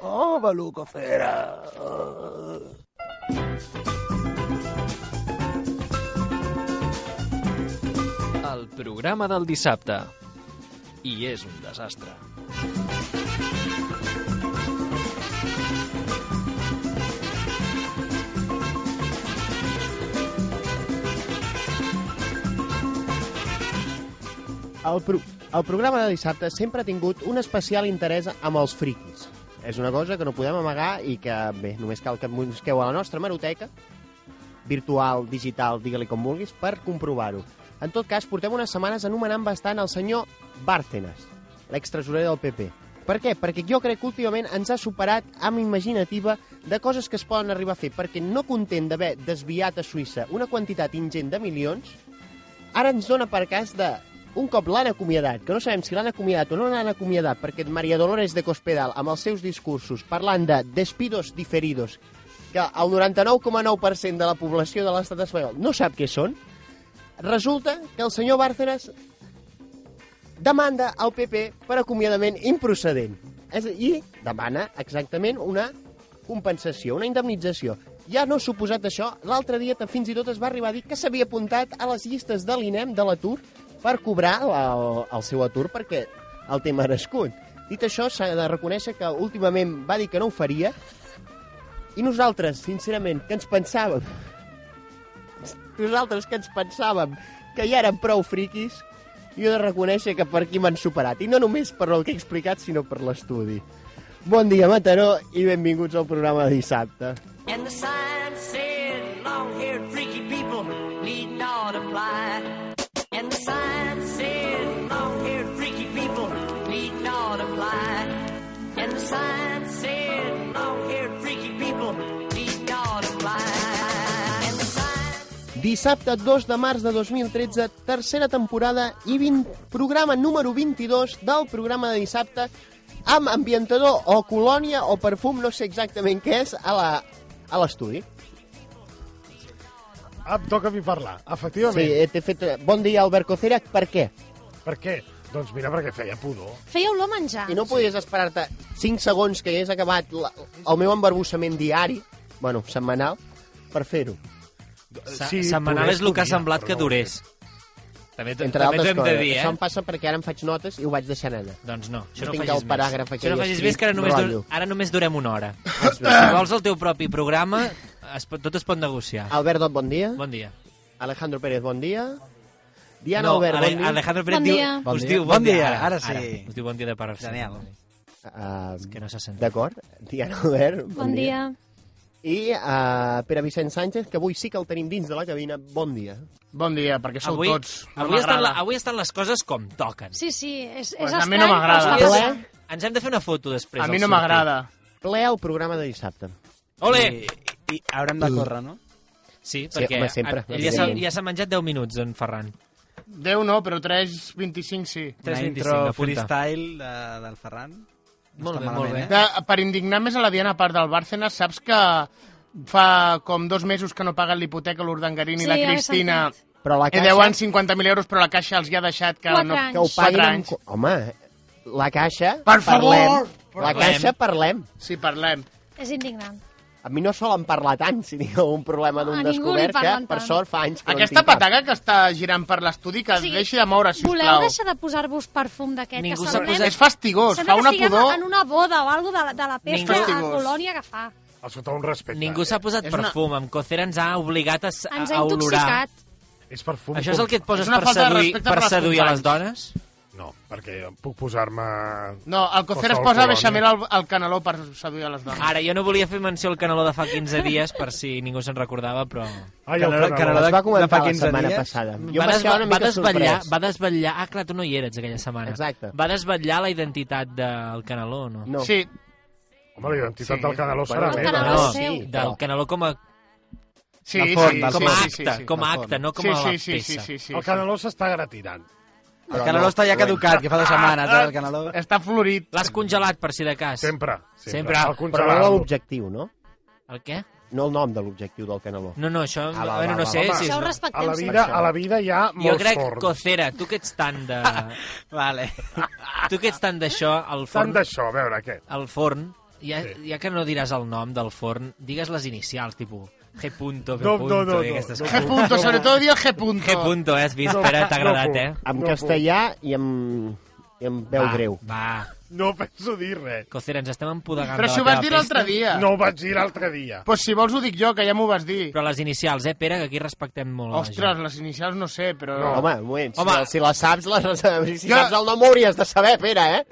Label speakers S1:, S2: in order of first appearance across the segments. S1: ¡Oh, Baluco Fera! Oh.
S2: El programa del dissabte. I és un desastre.
S3: El, pro el programa de dissabte sempre ha tingut un especial interès amb els friquis. És una cosa que no podem amagar i que, bé, només cal que busqueu a la nostra maroteca, virtual, digital, digue-li com vulguis, per comprovar-ho. En tot cas, portem unes setmanes anomenant bastant el senyor Bárcenas, l'extresorer del PP. Per què? Perquè jo crec que últimament ens ha superat amb imaginativa de coses que es poden arribar a fer, perquè no content d'haver desviat a Suïssa una quantitat ingent de milions, ara ens dona per cas de un cop l'han acomiadat, que no sabem si l'han acomiadat o no l'han acomiadat, perquè Maria Dolores de Cospedal, amb els seus discursos, parlant de despidos diferidos, que el 99,9% de la població de l'estat espanyol no sap què són, resulta que el senyor Bárcenas demanda al PP per acomiadament improcedent. És, a dir, I demana exactament una compensació, una indemnització. Ja no suposat això, l'altre dia ta- fins i tot es va arribar a dir que s'havia apuntat a les llistes de l'INEM de l'atur per cobrar la- el, el seu atur perquè el té merescut. Dit això, s'ha de reconèixer que últimament va dir que no ho faria i nosaltres, sincerament, que ens pensàvem nosaltres que ens pensàvem que ja érem prou friquis, jo he de reconèixer que per aquí m'han superat. I no només per el que he explicat, sinó per l'estudi. Bon dia, Mataró, i benvinguts al programa de dissabte.
S4: And the sign said, long haired freaky people need not apply. And the sign said, long haired freaky people need not apply. And the sign said, long haired freaky people need not apply. And the sign
S3: Dissabte 2 de març de 2013, tercera temporada i 20, programa número 22 del programa de dissabte amb ambientador o colònia o perfum, no sé exactament què és, a la- a l'estudi.
S1: Ah, em toca a mi parlar,
S3: Sí,
S1: efectivament.
S3: eh, t'he fet... Bon dia, Albert Cocera, per què?
S1: Sí. Per què? Doncs mira, perquè feia pudor.
S5: Feia olor a menjar.
S3: I no podies esperar-te 5 segons que hagués acabat la, el meu embarbussament diari, bueno, setmanal, per fer-ho.
S6: Sí, Setmanal
S1: pudor
S6: és el que ha
S1: podia,
S6: semblat
S1: però
S6: que
S1: no.
S6: durés. També, t-
S3: Entre
S6: també t'ho
S3: altres
S6: hem
S3: coses.
S6: de dir, eh?
S3: Això em passa perquè ara em faig notes i ho vaig deixant anar.
S6: Doncs no, això
S3: No
S6: no,
S3: tinc
S6: facis
S3: el paràgraf
S6: més.
S3: aquell
S6: Això no facis
S3: escrit,
S6: més, que ara només,
S3: rotllo.
S6: dur, ara només durem una hora. si vols el teu propi programa, es, pot- tot es pot negociar.
S3: Albert Dot, bon dia.
S6: Bon dia.
S3: Alejandro Pérez, bon dia. Diana
S6: no,
S3: Albert,
S6: Ale-
S3: bon dia.
S6: Alejandro Pérez
S5: Bon
S6: diu,
S5: dia.
S6: us
S7: Bon dia.
S6: diu bon,
S7: Bon
S6: dia.
S7: dia,
S6: Ara,
S7: ara sí.
S6: Us diu bon dia de part seva.
S7: Daniel.
S3: Uh,
S6: Que no se sent.
S3: D'acord. Diana Albert, bon,
S5: Bon dia.
S3: I uh, Pere Vicent Sánchez, que avui sí que el tenim dins de la cabina, bon dia.
S8: Bon dia, perquè sou
S6: Avui,
S8: tots. No
S6: avui, estan la,
S8: m'agrada.
S6: avui estan les coses com toquen.
S5: Sí, sí, és, és
S8: Pues a mi
S5: estrany,
S8: no
S5: però
S8: m'agrada. eh?
S5: està
S3: Ple,
S5: passant.
S6: Ens hem de fer una foto després.
S8: A mi
S6: al
S8: no
S6: sortir.
S8: m'agrada.
S3: ple el programa de dissabte.
S6: Ole!
S7: I, I haurem de córrer, no?
S6: Sí, perquè
S3: home, sempre,
S6: ell ja s'ha
S3: evidentment.
S6: ja s'ha menjat 10 minuts, en Ferran.
S8: 10 no, però 3.25 sí.
S6: 3.25,
S7: intro
S6: apunta.
S7: freestyle de, del Ferran. No
S6: Molt
S7: està
S6: bé, molt bé.
S7: malament,
S8: De, per indignar més a la Diana, a part del Bárcenas, saps que fa com dos mesos que no paguen l'hipoteca l'Urdangarín
S5: Sí,
S8: i la
S5: ja ho he
S8: Cristina
S5: sentit.
S3: Però la
S8: i
S3: caixa...
S8: deuen 50.000 euros, però la Caixa els hi ha deixat que
S5: Quatre
S8: no...
S5: anys.
S3: que ho paguin
S8: Quatre
S3: amb...
S8: anys.
S3: co- Home, la caixa...
S8: Per favor!
S3: Parlem. La
S6: Parlem.
S3: caixa parlem.
S8: Si parlem.
S5: És indignant.
S3: A mi no solen parlar tant si tinc un problema d'un
S5: A ningú li
S3: descobert que,
S5: parlen
S3: per
S5: tant.
S3: sort, fa anys que
S8: Aquesta
S3: no en tinc
S8: pataca que està girant per l'estudi,
S5: O
S8: que es
S5: sigui,
S8: deixi de moure,
S5: Voleu
S8: sisplau.
S5: deixar de posar-vos perfum d'aquest?
S6: Ningú
S5: que
S6: s'ha
S5: semblem-
S6: posat-
S8: És fastigós,
S5: Sembla
S8: fa
S5: que
S8: una
S5: estiguem
S8: pudor.
S5: en una boda o alguna de, la- de la
S6: Ningú-
S5: pesca a
S8: Fastigós.
S5: Colònia que fa.
S1: Escolta, un respecte.
S6: Ningú s'ha posat
S8: És una-
S6: perfum. Amb Cocera ens ha obligat a, s- a,
S5: Ens ha
S6: a olorar.
S5: intoxicat.
S1: És perfum.
S6: Això és el que et poses
S8: És una
S6: per
S8: falta de
S6: seduir,
S8: respecte
S6: per
S8: per les
S6: seduir a les dones?
S1: No, perquè puc posar-me...
S8: No, el Cocer es
S1: Qualsevol
S8: posa
S1: colònia.
S8: beixamel al, al caneló per seduir a les dones.
S3: Ah,
S6: Ara, jo no volia fer menció al canaló de fa 15 dies, per si ningú se'n recordava, però...
S1: Ai,
S7: Caneló-
S1: el
S7: caneló
S1: caneló.
S3: Es va
S7: de fa
S3: comentar la
S7: 15
S3: setmana
S7: dies.
S3: passada. Jo
S6: Mm. Va,
S3: em vaig
S6: desva-
S3: quedar una
S6: va,
S3: mica
S6: desvetllar,
S3: sorprès.
S6: va desvetllar... Ah, clar, tu no hi eres aquella setmana.
S3: Exacte.
S6: Va desvetllar la identitat del canaló, no? Ah,
S3: No.
S8: Sí,
S1: Home, la identitat
S7: Sí.
S1: del caneló serà
S3: Bueno,
S5: El
S1: meva.
S5: caneló
S6: no,
S5: és seu.
S3: sí,
S6: del canaló com a,
S8: sí,
S7: Del
S8: sí,
S7: forn,
S8: sí,
S7: del
S6: com a
S7: forn.
S8: sí,
S6: acte,
S8: sí, sí.
S6: com a
S7: del
S6: acte,
S7: forn.
S6: no com
S8: Sí,
S6: a
S8: sí,
S6: la
S8: sí, sí,
S6: peça.
S8: sí, sí.
S1: El caneló s'està gratinant.
S7: El caneló està ja caducat, que fa dues setmanes, eh, el caneló.
S8: Està florit.
S6: L'has congelat, per si de cas.
S1: Sempre. El
S6: Sempre.
S3: Però no de
S1: congelar.
S3: l'objectiu, no?
S6: El què?
S3: No el nom de l'objectiu del caneló.
S6: No, no, això...
S3: Ah, va,
S6: bueno,
S3: va,
S6: no
S3: va,
S6: sé
S1: va,
S6: si...
S1: va.
S5: Això ho
S1: A
S6: és-
S1: la
S5: respectem
S1: vida, a la vida hi ha
S6: Jo
S1: molts
S6: crec,
S1: forns.
S6: Cocera, tu que ets tant de...
S7: Vale.
S6: Tu que ets tant d'això, el
S1: Tant
S6: forn...
S1: d'això, a veure, què?
S6: El forn Ja,
S1: Sí.
S6: ja que no diràs el nom del forn, digues les inicials, tipus G. Punto, G.
S1: No, no,
S6: punto,
S1: no,
S6: i
S1: no,
S6: aquestes
S1: no.
S6: coses.
S8: G punto, sobretot dia el G
S6: G.
S8: punto.
S6: Punto, eh, has vist?
S1: No,
S6: Pere,
S1: no
S6: t'ha agradat,
S1: puc.
S6: eh?
S3: Amb
S1: No
S3: castellà i amb, i amb veu
S7: Ah.
S6: va,
S3: greu.
S6: Va,
S1: No penso dir res.
S6: Cocera, ens estem empodegant de
S8: Però
S6: la
S8: si ho
S6: teva
S8: vas dir
S6: pesta.
S8: l'altre dia.
S1: No ho vaig dir l'altre dia.
S8: Pues si vols ho dic jo, que ja m'ho vas dir.
S6: Però les inicials, eh, Pere, que aquí respectem molt la
S8: Ostres, les inicials no sé, però...
S3: No. Home, un moment, si,
S6: Home.
S3: la- si la saps, la, si
S8: Jo-
S3: saps el nom ho hauries de saber, Pere, eh?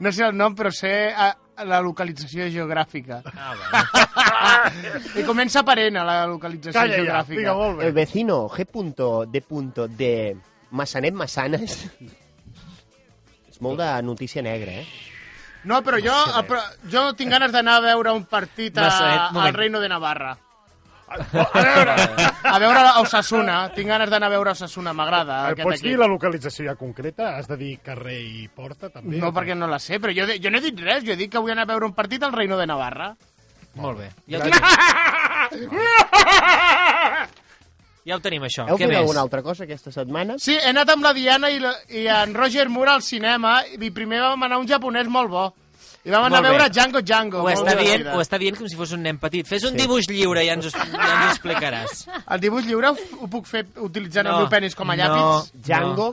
S8: No sé el nom, però sé a, a la localització geogràfica.
S6: Ah, bueno.
S8: I comença per N, la localització
S1: Calla ja,
S8: geogràfica.
S1: digue molt
S3: El
S1: bé.
S3: vecino G. punto D. punto de Massanet Massanes és molt de notícia negra, eh?
S8: No, però jo, però jo tinc ganes d'anar a veure un partit a,
S6: Massanet, moment.
S8: al Reino de Navarra.
S1: A veure,
S8: A veure a Osasuna. Tinc ganes d'anar a veure Osasuna, m'agrada.
S1: eh,
S8: aquest
S1: pots dir
S8: equip.
S1: la localització ja concreta? Has de dir carrer i porta, també?
S8: No, perquè no la sé, però jo, de- jo no he dit res. Jo he dit que vull anar a veure un partit al Reino de Navarra.
S6: Molt bé. Ja ho tenim, ja ho tenim això.
S3: Heu
S6: Què
S3: vist
S6: més?
S3: alguna altra cosa aquesta setmana?
S8: Sí, he anat amb la Diana i, la, i en Roger Moore al cinema i primer vam anar a un japonès molt bo. I vam anar
S6: Molt
S8: a veure
S6: bé.
S8: Django Django.
S6: Ho
S8: molt
S6: està, dient,
S8: divertida.
S6: ho està dient com si fos un nen petit. Fes un dibuix lliure i ja ens ho, ja ens ho explicaràs.
S8: El dibuix lliure ho, ho puc fer utilitzant
S6: No,
S8: el meu penis com a
S6: no.
S8: llàpis?
S3: Django,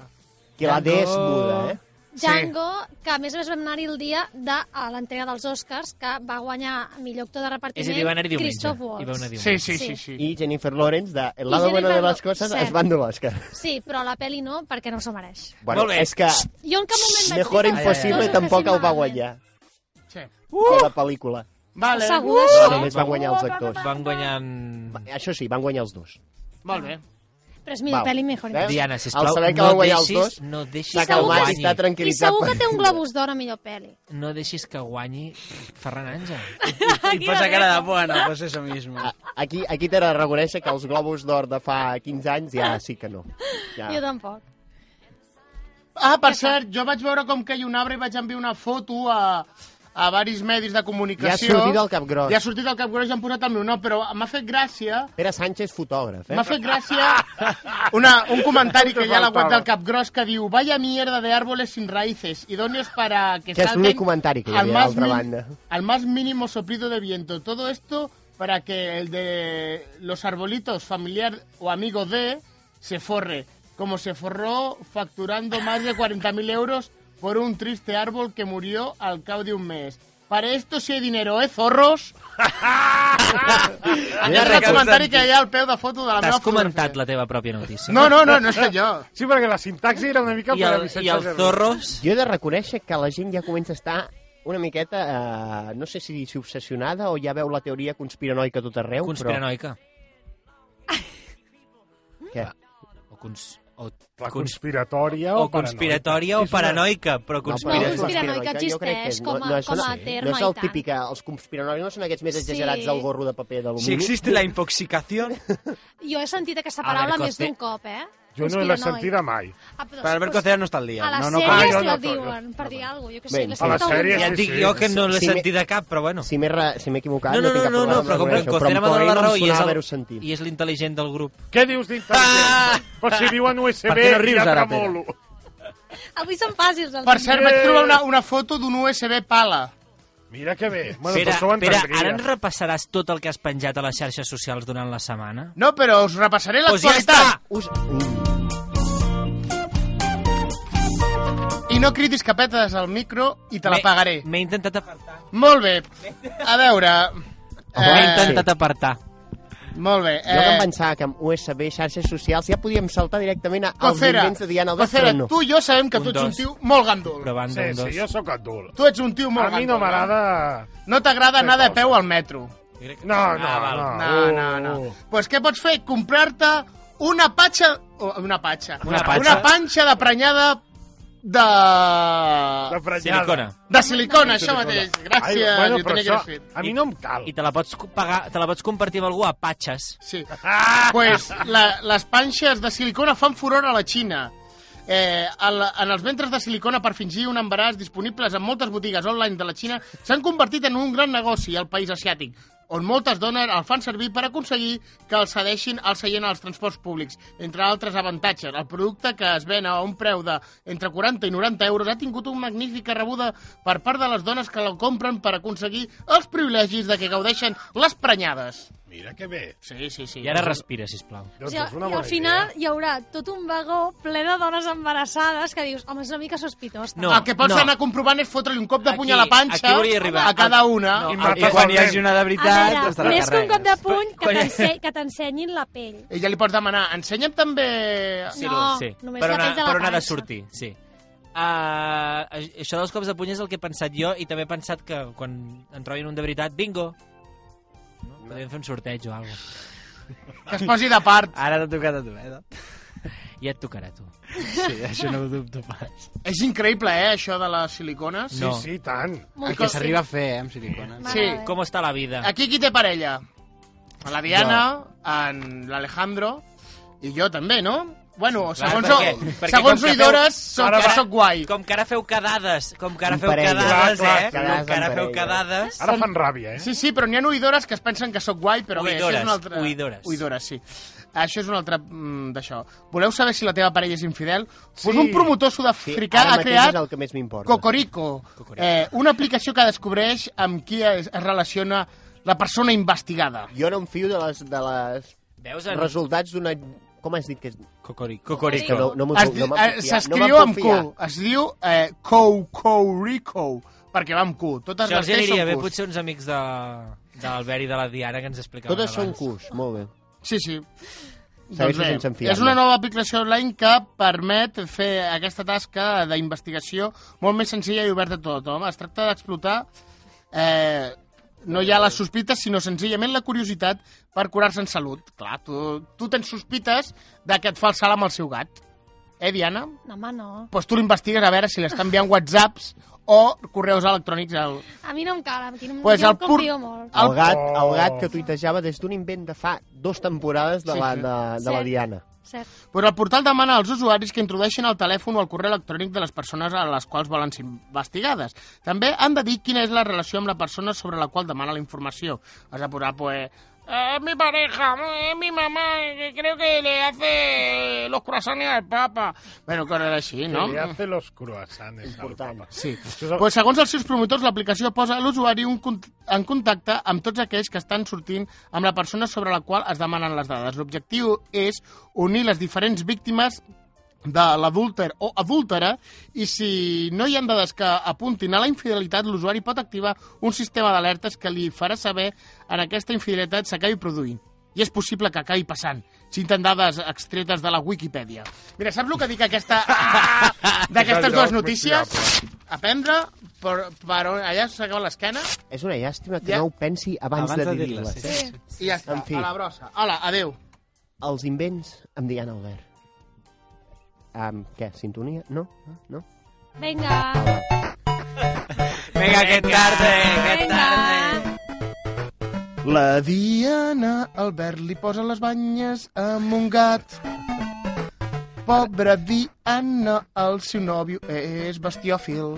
S3: que la D és muda, eh?
S5: Django, que a més a més vam anar-hi el dia de a l'entrega dels Oscars, que va guanyar millor actor de
S6: És
S5: repartiment
S6: a dir, va anar-hi diumenge.
S5: Christoph Waltz.
S6: I va anar
S8: Sí, sí, sí.
S5: Sí.
S8: sí.
S3: I Jennifer Lawrence, de El
S5: I
S3: lado bueno de
S5: Jennifer
S3: las cosas,
S5: Lawrence,
S3: es van de l'Òscar.
S5: Sí, però la peli no, perquè no s'ho mereix.
S3: Bueno,
S6: Molt bé.
S3: és que
S5: Jo en cap moment vaig
S3: Mejor
S5: dir que les
S3: Impossible
S5: coses
S3: tampoc
S5: fessin
S3: el va
S5: malament.
S3: guanyar,
S8: sí.
S3: de la pel·lícula.
S8: Vale. Uh!
S5: Segur
S3: No,
S5: d'això?
S3: només van guanyar els actors.
S6: Van guanyant...
S3: Això sí, van guanyar els dos.
S8: Molt bé.
S5: Però és millor
S3: Val.
S5: peli Mejor
S3: Veus?
S5: Impossible.
S6: Diana, sisplau,
S3: Al saber que
S6: no
S3: van guanyar els
S6: deixis,
S3: dos,
S6: no deixis
S3: s'ha
S5: I
S6: que
S5: segur
S3: calmat
S5: que-
S3: i està
S6: guanyi.
S5: I
S3: tranquil·litzat.
S5: segur que
S3: per-
S5: té un globus d'or a millor peli.
S6: No deixis que guanyi Ferran Àngel.
S7: I posa cara de bueno, pues eso mismo.
S3: A- Aquí, aquí t'he de reconèixer que els globus d'or de fa 15 anys ja sí que no. Ja.
S5: Jo tampoc.
S8: Ah, per cert, jo vaig veure com caia un arbre i vaig enviar una foto a, a varis medis de
S3: Ja ha
S8: comunicació.
S3: sortit el cap gros.
S8: Ja ha sortit el cap gros i han posat el meu nom, però m'ha fet gràcia...
S3: Pere Sánchez, fotògraf,
S8: M'ha
S3: eh?
S8: fet gràcia una, un comentari que hi ha a la web del Capgros que diu Vaya mierda de árboles sin raíces, idóneos para que,
S3: Que és
S8: salten
S3: l'únic comentari que hi havia
S8: al
S3: a l'altra
S8: más
S3: banda.
S8: Al más mínimo soplido de viento. Todo esto para que el de los arbolitos familiar o amigo de se forre, como se forró facturando más de 40.000 euros por un triste árbol que murió al cabo de un mes. Para esto sí hay dinero, ¿eh, zorros? Aquest és el comentari que hi ha al peu de foto de la meva
S6: T'has
S8: fotografia.
S6: comentat la teva pròpia notícia.
S8: No, no, no, no he estat jo.
S1: Sí, perquè la sintaxi era una mica...
S6: I
S1: per a
S6: el,
S1: Vicenç
S6: i el
S1: Ferrer.
S6: Zorros...
S3: Jo he de reconèixer que la gent ja comença a estar una miqueta, eh, no sé si dir-s'hi obsessionada o ja veu la teoria conspiranoica a tot arreu,
S6: Conspiranoica.
S3: però... Què?
S6: O, cons... o,
S1: La
S6: cons...
S1: conspiratòria o,
S6: o conspiratòria o paranoica, però
S5: No,
S6: conspiranoica.
S5: conspiranoica
S3: jo crec que
S5: existeix com a-
S3: és,
S5: com a
S3: no,
S5: terme
S3: No és
S5: i
S3: el
S5: tant.
S3: típic, eh, els conspiranoics no són aquests més exagerats
S5: Sí.
S3: del gorro de paper de
S7: Si existe la intoxicación,
S5: Jo he sentit aquesta
S6: A ver,
S5: paraula
S6: Coste-
S5: més d'un cop, eh?
S1: Jo no l'he sentida mai.
S5: Ah, però,
S7: para Albert Cocera no está al día.
S5: A les
S7: No,
S5: no,
S7: no,
S1: cal.
S5: sèries
S1: Ah, jo
S5: la
S1: no, jo-
S5: diuen, per dir alguna cosa. Jo que sé,
S3: Bé,
S5: l'he
S3: a
S5: sentit
S1: les
S5: algun
S1: sèries
S5: dia.
S6: Ja et dic jo que no l'he
S3: Si me-
S6: sentit de cap, però bueno.
S3: Si m'he re- si m'he equivocat,
S6: No, no, no,
S3: tinc cap
S6: no, no
S3: problema,
S6: però com que
S3: reconèixer-ho,
S6: Cocera
S3: em
S6: m'ha donat la
S3: coïna,
S6: raó
S3: em
S6: i és,
S3: sonava haver-ho
S6: el,
S3: sentit.
S6: i és l'intel·ligent del grup.
S1: Què dius d'intel·ligent?
S6: Ah!
S1: Però si diuen USB,
S7: Per què no rius
S1: ja
S7: ara,
S1: tremolo.
S5: Avui són fàcils, els
S8: Per cert, vaig trobar una, una foto d'un USB pala.
S1: Mira que bé. Bueno, doncs però
S6: Pere,
S1: això ho
S6: Pere,
S1: entendria.
S6: ara ens repassaràs tot el que has penjat a les xarxes socials durant la setmana?
S8: No, però us repassaré
S6: Doncs ja està!
S8: l'actualitat.
S3: Us... Mm.
S8: I no cridis capetes al micro i te la
S6: M'he-
S8: pagaré.
S6: M'he intentat apartar.
S8: Molt bé. A veure...
S6: M'he
S8: Eh,
S6: intentat apartar.
S8: molt bé.
S3: Jo que em
S8: Eh,
S3: pensava que amb USB, xarxes socials, ja podíem saltar directament als
S8: Cocera,
S3: invents de Diana Albert,
S8: Cocera,
S3: però no.
S8: tu i jo sabem que
S6: Un,
S8: tu ets un
S6: dos.
S8: tio molt gandul.
S6: Però van
S1: Sí,
S6: d'un
S1: sí,
S6: dos.
S1: jo sóc adult.
S8: Tu ets un tio molt
S1: A mi
S8: gandul.
S1: no
S8: eh?
S1: m'agrada...
S8: No t'agrada anar de peu al metro.
S1: No, no,
S6: Ah, val.
S1: no.
S8: No,
S1: Oh.
S8: no, no. Pues què pots fer? Comprar-te una patxa... o- Una patxa.
S6: Una patxa.
S8: Una panxa de prenyada de...
S1: De franyada.
S6: Silicona.
S8: De silicona, això mateix. Gràcies,
S1: Ai, bueno,
S8: ho
S1: però
S8: tenia que
S1: això,
S8: hagués fet.
S1: a mi no em cal.
S6: I te la pots pagar, te la pots compartir amb algú a patxes.
S8: Sí.
S1: Ah!
S8: Pues la, les panxes de silicona fan furor a la Xina. Eh, el, en els ventres de silicona per fingir un embaràs disponibles en moltes botigues online de la Xina s'han convertit en un gran negoci al país asiàtic. on moltes dones el fan servir per aconseguir que el cedeixin al seient als transports públics. Entre altres avantatges, el producte que es ven a un preu de entre 40 i 90 euros ha tingut una magnífica rebuda per part de les dones que la compren per aconseguir els privilegis de que gaudeixen les prenyades.
S1: Mira que bé.
S8: Sí, sí, sí.
S6: I ara respira, sisplau.
S1: Doncs
S5: o sigui,
S1: és una
S5: i
S1: bona
S5: al final
S1: idea.
S5: hi haurà tot un vagó ple de dones embarassades que dius, home, és una mica sospitós.
S6: No,
S8: el que pots
S6: no.
S8: anar comprovant és fotre-li un cop de puny a la
S6: Aquí-
S8: panxa
S6: aquí volia arribar.
S8: a cada una.
S1: No.
S8: No.
S1: Marta,
S7: I quan hi hagi una de
S5: A
S7: veritat,
S5: veure,
S7: estarà
S5: més que un cop de puny, que
S6: Quan-
S5: t'ense- que t'ensenyin la pell.
S8: I ja li pots demanar, ensenya'm també...
S5: no,
S6: sí.
S5: només
S6: per
S5: la
S6: on, ha-
S5: pell de la
S6: per on ha de
S5: panxa.
S6: sortir, sí. Uh, això dels cops de puny és el que he pensat jo i també he pensat que quan en trobin un de veritat, bingo! No? Podríem fer un sorteig o alguna cosa.
S8: Que es posi de part.
S7: Ara t'ha tocat a tu, eh?
S6: Ja et tocarà, tu.
S7: Sí, això no ho dubto pas.
S8: És increïble, eh, això de les silicones.
S1: Sí,
S6: No.
S1: sí, i tant.
S5: Molt
S7: El que s'arriba a fer, eh, amb silicona.
S5: Mare
S8: Sí,
S5: de Déu.
S6: Com està la vida?
S8: Aquí qui té parella? La Diana, en l'Alejandro i jo també, no? Bueno,
S6: Clar,
S8: segons,
S6: perquè-
S8: o-
S6: perquè com
S8: segons
S6: que
S8: oïdores,
S6: feu-
S8: soc,
S6: Ara
S8: que
S6: va-
S8: soc guai.
S6: Com que ara feu quedades, com que ara
S3: En
S6: feu
S3: parella.
S6: quedades,
S1: Clar, clar,
S6: eh?
S3: quedades
S6: Com que ara
S3: en
S6: feu
S3: parella.
S6: quedades...
S1: Ara fan ràbia, eh?
S8: Sí, sí, però n'hi ha oïdores que es pensen que sóc guai, però bé, això
S6: Oïdores,
S8: és un altre...
S6: oïdores.
S8: Oïdores, sí. Això és un altre mm, d'això. Voleu saber si la teva parella és infidel? Sí. Pues
S1: Sí.
S8: un promotor
S3: Sí,
S8: sud-africà
S3: ara
S8: ha
S3: mateix
S8: creat
S3: és el que més m'importa.
S8: Cocorico, eh, una aplicació que descobreix amb qui es, es relaciona la persona investigada.
S3: Jo no em fio de les, de les
S6: Veus?
S8: Doncs.
S6: En...
S3: resultats d'una... Com has dit que és?
S7: Cocorico.
S5: Cocorico.
S6: Cocorico.
S3: Que no, no m'ho-
S8: Es di-
S3: no me'n
S8: eh,
S3: puc fiar,
S8: S'escriu
S3: no me'n
S8: amb
S3: puc
S8: Q,
S3: fiar.
S8: es diu eh, Cocorico, perquè va amb Q. Totes
S6: Això
S8: les
S6: els
S8: T
S6: hi aniria bé,
S8: són Qs.
S6: potser uns amics de, de l'Albert i de la Diana que ens explicaven
S3: Totes són
S6: abans.
S3: cus, molt bé.
S8: Sí, sí. Doncs
S3: Segueixo sense enfiar-me.
S8: és una nova aplicació online que permet fer aquesta tasca d'investigació molt més senzilla i oberta a tothom. Es tracta d'explotar eh, no ja les sospites, sinó senzillament la curiositat per curar-se en salut. Clar, tu, tu tens sospites de que et fa el salt amb el seu gat. Eh, Diana?
S5: No, home, no.
S8: Doncs tu l'investigues a veure si l'està enviant whatsapps o correus electrònics al...
S5: A mi no em cal, aquí no,
S8: Pues
S5: pues jo
S8: el
S5: em confio
S8: pur-
S5: molt.
S3: El gat,
S1: Oh.
S3: el gat que tuitejava des d'un invent de fa dues temporades de
S8: Sí,
S3: la,
S8: sí.
S3: de, de la
S5: Cert.
S3: Diana.
S5: Cert.
S8: Pues el portal demana als usuaris que introdueixin el telèfon o el correu electrònic de les persones a les quals volen ser investigades. També han de dir quina és la relació amb la persona sobre la qual demana la informació. Has de posar, pues... Eh, mi pareja, eh, mi mamá, que creo que le hace los croissants al papa. Bueno, coses així, no?
S1: Que li hace los croissants. Important.
S8: Sí.
S1: Això és el-
S8: Pues segons els seus promotors, l'aplicació posa a l'usuari un con- en contacte amb tots aquells que estan sortint amb la persona sobre la qual es demanen les dades. L'objectiu és unir les diferents víctimes de l'adúlter o adúltera i si no hi han dades que apuntin a la infidelitat, l'usuari pot activar un sistema d'alertes que li farà saber en aquesta infidelitat s'acabi produint. I és possible que acabi passant, cinten dades extretes de la Wikipedia. Mira, saps el que dic aquesta... d'aquestes
S1: És el
S8: dues
S1: lloc més
S8: notícies?
S1: fiable.
S8: aprendre per, per on allà s'acaba l'esquena
S3: És una llàstima que
S8: Ja.
S3: no ho pensi abans,
S7: Abans de
S3: de
S7: dir-la,
S3: dir-les.
S7: sí.
S5: Sí.
S8: i ja està,
S3: En fi.
S8: a la brossa. Hola, adeu.
S3: Els invents amb Diana Albert. Um, què? Sintonia? No? No?
S5: Vinga,
S6: Vinga, que tarda, que tarda.
S5: vinga.
S8: La Diana Albert li posa les banyes amb un gat. Pobra Diana, el seu nòvio és bestiòfil.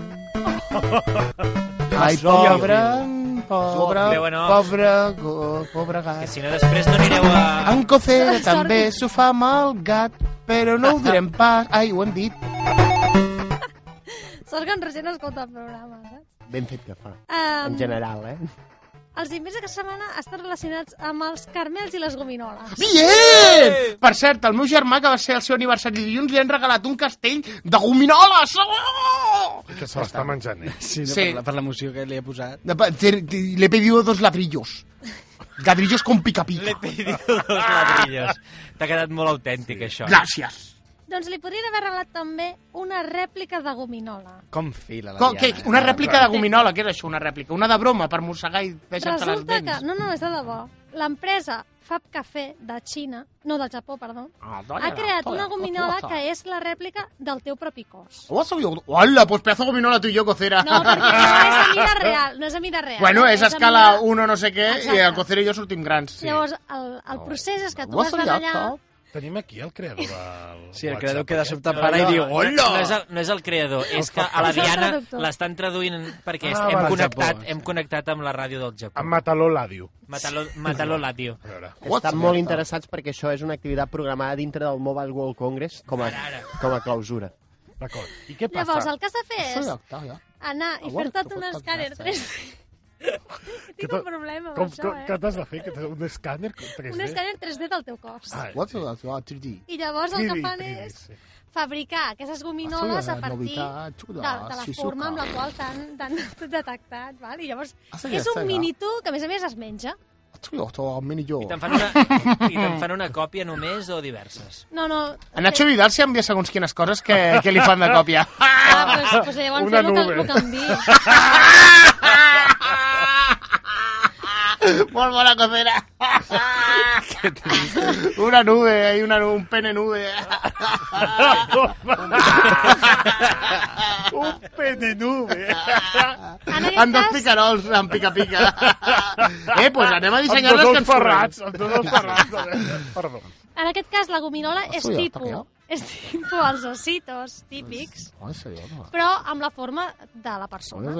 S8: Ai, pobre, pobre,
S6: Déu, no.
S8: pobre, go- pobre
S6: Que
S8: gat.
S6: si no després no anireu a...
S8: En Cocera
S5: Sorry.
S8: també s'ho fa mal gat, però no ho direm pas. Ai, ho hem dit.
S5: Sort que en Roger no escolta el programa, saps?
S3: Ben fet que fa.
S5: Um,
S3: En general, eh?
S5: Els invents d'aquesta setmana estan relacionats amb els carmels i les gominoles.
S8: Bien! Per cert, el meu germà, que va ser el seu aniversari dilluns, li han regalat un castell de gominoles! Oh!
S1: Que se l'està menjant, eh?
S7: Sí, no,
S8: Sí.
S7: Per, la, per l'emoció que li he posat.
S8: De pa- te- te- Le he pedido dos ladrillos. Ladrillos con pica
S6: L'he
S8: pica.
S6: pedit dos ladrillos. T'ha quedat molt autèntic, això.
S8: Gràcies.
S5: Doncs li podrien haver regalat també una rèplica de gominola.
S7: Com fila la
S8: Co-
S7: Diana.
S8: què?
S7: eh?
S8: una rèplica de gominola, què és això, una rèplica? Una de broma per mossegar i deixar-te les
S5: Resulta que...
S8: dents?
S5: No, no, és de debò. L'empresa Fab Café de Xina, no, del Japó, perdó,
S8: Ah, doña,
S5: ha creat
S8: joder,
S5: una gominola
S8: otra.
S5: que és la rèplica del teu propi cos.
S8: Ho has sabut? Hola, pues pedazo de gominola tu i jo, cocera.
S5: No, perquè no és a mida real, no és a mida real. eh,
S8: Bueno, és
S5: és a
S8: escala
S5: mida-
S8: 1 no sé què, i
S5: Exacte.
S8: el cocera i jo sortim grans. Sí.
S5: Llavors, el, el procés és que tu
S8: Ho has
S5: has d'anar
S8: sabut,
S5: allà,
S8: no?
S1: Tenim aquí el creador del
S7: Sí, el
S1: WhatsApp
S7: creador que de
S1: aquest.
S7: sobte para i diu,
S6: No,
S7: hola!
S6: és el, no és el creador, és que a la
S5: És el
S6: Diana
S5: traductor.
S6: l'estan traduint perquè
S1: Ah,
S6: hem,
S1: va,
S6: connectat,
S7: Japó, sí.
S6: hem connectat amb la ràdio del Japó.
S1: En Mataló l'àdio.
S6: Matalo, matalo la tio.
S1: A veure.
S3: Estan molt interessats perquè això és una activitat programada dintre del Mobile World Congress com a, com a clausura.
S1: D'acord. I què passa?
S5: Llavors, el que has de fer és
S8: Això ja està, ja.
S5: anar i
S8: Aguanta,
S5: fer-te un
S8: aguanta,
S5: escàner
S8: aguanta.
S5: 3D. Tinc
S1: t'ha-
S5: un problema amb
S1: Com,
S5: això,
S1: com,
S5: eh?
S1: què t'has de fer? Que t'has- un escàner? Com- tres D?
S5: Un escàner 3D del teu cos.
S1: Ah,
S8: What's
S1: sí.
S8: that? Ah, 3D.
S5: I llavors el que
S1: 3D,
S5: fan
S1: 3D,
S5: és
S1: sí.
S5: fabricar aquestes gominoles a partir de,
S8: novetat,
S5: de
S8: xuda,
S5: la
S8: Shizuka.
S5: forma amb la qual t'han t'han detectat. Val? I llavors
S8: Ah, sí,
S5: és
S8: ja sé,
S5: un
S8: ja.
S5: minitú que a més a més es menja.
S8: Xuda, xuda, mini jo.
S6: I te'n fan, una, i te'n fan una còpia només o diverses?
S5: No, no...
S8: A Nacho Vidal s'hi envia segons quines coses que, que li fan de còpia.
S5: Ah, pues, pues llavors
S1: Una
S5: fem el que,
S1: nube.
S5: el que em diu.
S8: Molt bona cocina. una nube, hay una, nube, un pene nube.
S1: Un eh? pene nube.
S5: En aquest
S8: amb dos
S5: cas-
S8: picarols, amb pica-pica. eh, pues anem a dissenyar
S1: Amb dos
S8: les que
S1: ous
S8: ens forrats.
S1: ferrats. Amb dos ous ferrats. a veure. Perdó.
S5: En aquest cas, la gominola és
S8: Hòstia,
S5: tipus,
S8: toqueu.
S5: és tipus els ositos típics,
S8: Ai, seriós, no?
S5: però amb la forma de la persona.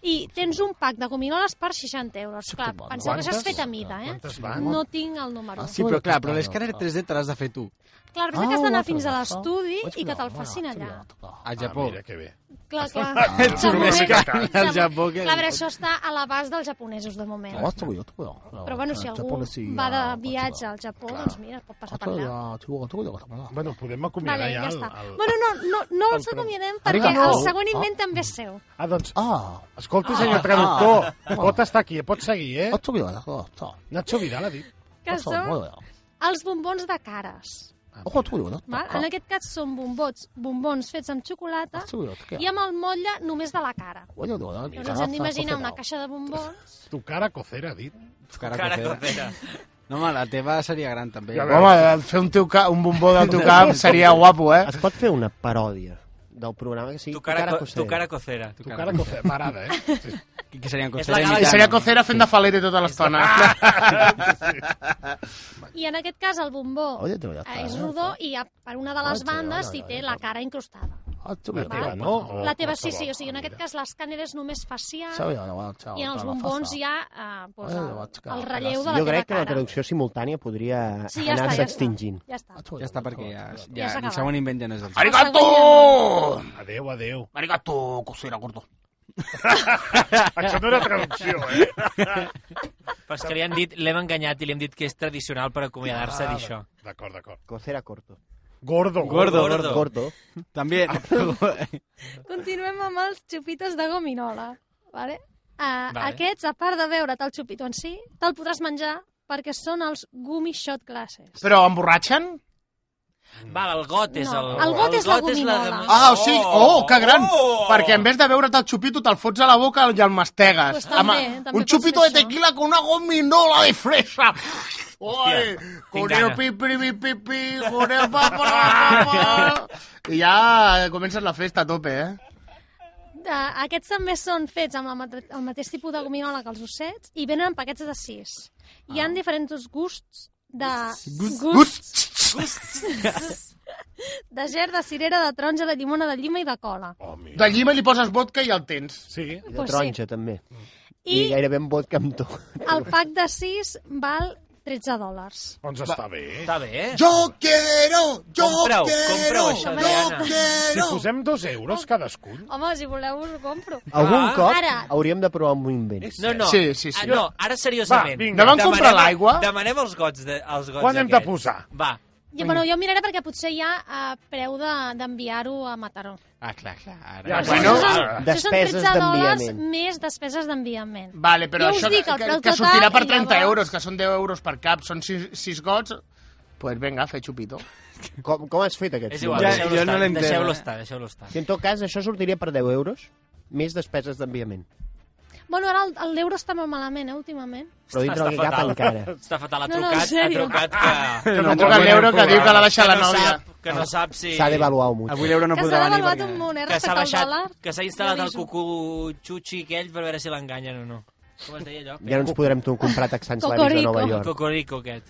S5: I tens un pack de gominoles per 60 euros. Clar,
S8: que
S5: penseu que això és
S1: Quantes?
S5: fet a mida, eh?
S1: Quantes van?
S5: No tinc el número.
S8: sí,
S7: Sí, però clar, però
S8: Ah,
S7: l'escàner
S8: ah.
S7: 3D te l'has de fer tu,
S5: Clar, però que has d'anar fins a l'estudi i que te'l facin allà.
S7: al
S1: Ah,
S7: Japó.
S1: mira, que bé.
S5: Clar, clar. De moment-
S7: mexicà,
S5: de-
S7: al Japó, que-
S5: Clar, però això està a l'abast dels japonesos, de moment. Però, bueno, si algú va de viatge al Japó, doncs mira, pot passar per allà.
S1: Bueno, podem acomiadar
S5: Vale,
S1: ja,
S5: ja
S1: el,
S5: està.
S1: el...
S5: Bueno, no, no, no
S1: el
S5: els
S1: tren.
S5: acomiadem
S8: Arriba,
S5: perquè
S8: no.
S5: el següent invent també és seu.
S1: Ah, doncs,
S8: Ah,
S1: escolti, senyor traductor,
S8: Oh.
S1: pot estar aquí, pot seguir, eh? Nacho Vidal ha dit.
S5: que són els bombons de cares. Val? En aquest cas són bombots, bombons fets amb xocolata i amb el motlle només de la cara. Llavors ens hem d'imaginar una caixa de bombons.
S1: Tu cara cocera, ha dit.
S7: Cara
S6: Cara
S7: cocera.
S6: cocera.
S7: No, home, la teva seria gran, també.
S1: Ja veus.
S8: Home, fer un, teu cap, un bombó del teu cap seria guapo, eh?
S3: Es pot fer una paròdia del programa que sigui
S6: Tu cara, co-
S3: cocera?
S6: tu cara cocera.
S1: Tu cara cocera. M'agrada, eh? Sí.
S7: Que serien
S6: És la
S7: cocera
S6: cara-
S8: I seria cocera fent de falete tota l'estona.
S5: I en aquest cas el bombó
S3: Oye, te voy a
S5: eh,
S3: estar,
S5: és
S3: eh?
S5: rodó i a- per una de les bandes hi té la cara incrustada.
S1: La teva,
S5: Val?
S1: Ah, no? O
S5: La teva sí,
S1: qualsevol.
S5: sí, o sigui, en
S1: Ah,
S5: aquest
S1: mira.
S5: cas l'escàner és només
S8: Ah.
S5: facial i en els bombons hi ha eh, doncs,
S8: Ai,
S5: el,
S8: la vaig cagar.
S5: el relleu de la
S3: Jo
S5: teva
S3: crec que la
S5: cara.
S3: traducció simultània podria
S5: Sí, ja està,
S3: anar-se
S5: ja està.
S3: extingint.
S5: Ja està.
S7: Ja està, perquè
S5: Ja
S7: ja, ja,
S5: s'ha
S7: el
S5: acabat.
S7: segon invent ja no és del Japó.
S8: Arigato!
S1: Adéu, adéu.
S8: Arigato, Oh! cocera, gordo.
S1: Això no era traducció, eh?
S6: Però és que li han dit, l'hem enganyat i li hem dit que és tradicional per acomiadar-se d'això.
S1: D'acord, d'acord.
S3: Cocera corto.
S1: Gordo,
S7: Gordo,
S6: Gordo.
S7: gordo.
S3: Corto.
S7: També.
S5: Continuem amb els xupitos de gominola. Vale? Uh,
S6: Vale.
S5: vale. Aquests, a part de veure't el xupito en si, te'l podràs menjar perquè són els gummy shot glasses.
S8: Però emborratxen?
S6: Va, el got és el...
S5: No, el got és la
S6: de-
S5: gominola.
S8: Ah, o sigui, oh, que gran! Perquè en vez de beure't el xupito, te'l fots a la boca i el mastegues.
S5: Pues també, també
S8: un
S5: pots
S8: xupito
S5: fer
S8: de
S5: això.
S8: tequila con una gominola de fresa. Oi, con el
S6: gana.
S8: pi, pi, pi, pi, pi, con el pa, pa, pa, pa. I ja comences la festa a tope, eh?
S5: Uh, aquests també són fets amb el, mate el mateix tipus de gominola que els ossets i venen en paquets de sis. Hi han diferents gusts de... Gusts. De ger, de cirera, de taronja, de llimona, de llima i de cola.
S1: Oh, mira.
S8: De llima li poses vodka i el tens.
S1: Sí,
S3: I de
S5: Pues sí.
S3: taronja, també. I,
S5: I
S3: gairebé amb vodka amb tot.
S5: el pack de sis val 13 dòlars.
S1: doncs està bé. eh?
S6: Està bé, eh?
S8: Yo quiero, yo
S6: Compreu,
S8: quiero,
S6: compreu això,
S5: Yo
S6: Diana.
S1: Si
S8: quiero.
S1: posem dos euros cadascun...
S5: Home, si voleu us ho compro.
S3: Algun
S6: Ah.
S3: cop
S5: Ara.
S3: hauríem de provar un invent.
S1: És
S6: No, no.
S8: Sí, sí, sí.
S6: Ah, no, ara seriosament.
S1: Va, vinga.
S8: No van
S6: Demanem-
S8: comprar l'aigua?
S6: Demanem els gots, de, els gots
S1: Quan hem de
S6: aquests.
S1: posar?
S6: Va.
S5: Jo, bueno, jo miraré perquè potser hi ha eh, preu de- d'enviar-ho a Mataró.
S7: Ah, clar, clar. Ara.
S1: Ja,
S8: Bueno,
S5: Això
S1: ara.
S5: són- això són
S3: Despeses
S5: 13 dòlars
S3: d'enviament.
S5: més despeses d'enviament.
S8: Vale, però
S5: Jo us
S8: això
S5: dic el
S8: que,
S5: preu
S8: que
S5: total
S8: sortirà per
S5: i
S8: 30
S5: llavors-
S8: euros, que són 10 euros per cap, són 6, 6 gots. Pues venga, fer xupito.
S3: Com, com has fet aquest?
S6: És igual,
S7: Ja,
S3: invent?
S6: deixeu-lo
S7: jo no
S6: estar,
S7: l'entenc.
S6: deixeu-lo estar, deixeu-lo estar.
S3: Si en tot cas això sortiria per 10 euros, més despeses d'enviament.
S5: Bueno, ara el- el l'euro està molt malament, eh, últimament.
S3: Però dintre
S6: Està
S3: del que cap
S6: fatal.
S3: encara.
S6: Està fatal, ha
S5: No, no,
S6: trucat,
S5: en
S6: ha
S5: sèrio.
S6: trucat que...
S8: Que no, toca l'euro que diu que l'ha
S6: que
S8: baixat la
S6: no
S8: nòvia.
S6: Sap, que no sap si...
S3: S'ha d'avaluar molt.
S7: Avui l'euro no
S5: que
S7: podrà
S5: s'ha
S7: venir
S5: devaluat
S7: perquè...
S5: un munt, eh,
S6: que
S5: respecte
S6: s'ha
S5: al
S6: baixat,
S5: dòlar.
S6: que s'ha instal·lat
S5: Ja
S6: el
S5: aviso.
S6: cucutxutxi aquell per veure si l'enganyen o no. Com es deia allò?
S3: Ja no ens podrem tu- comprar texans làbics de
S5: Cocorico.
S3: Nova York.
S6: Cocorico aquest.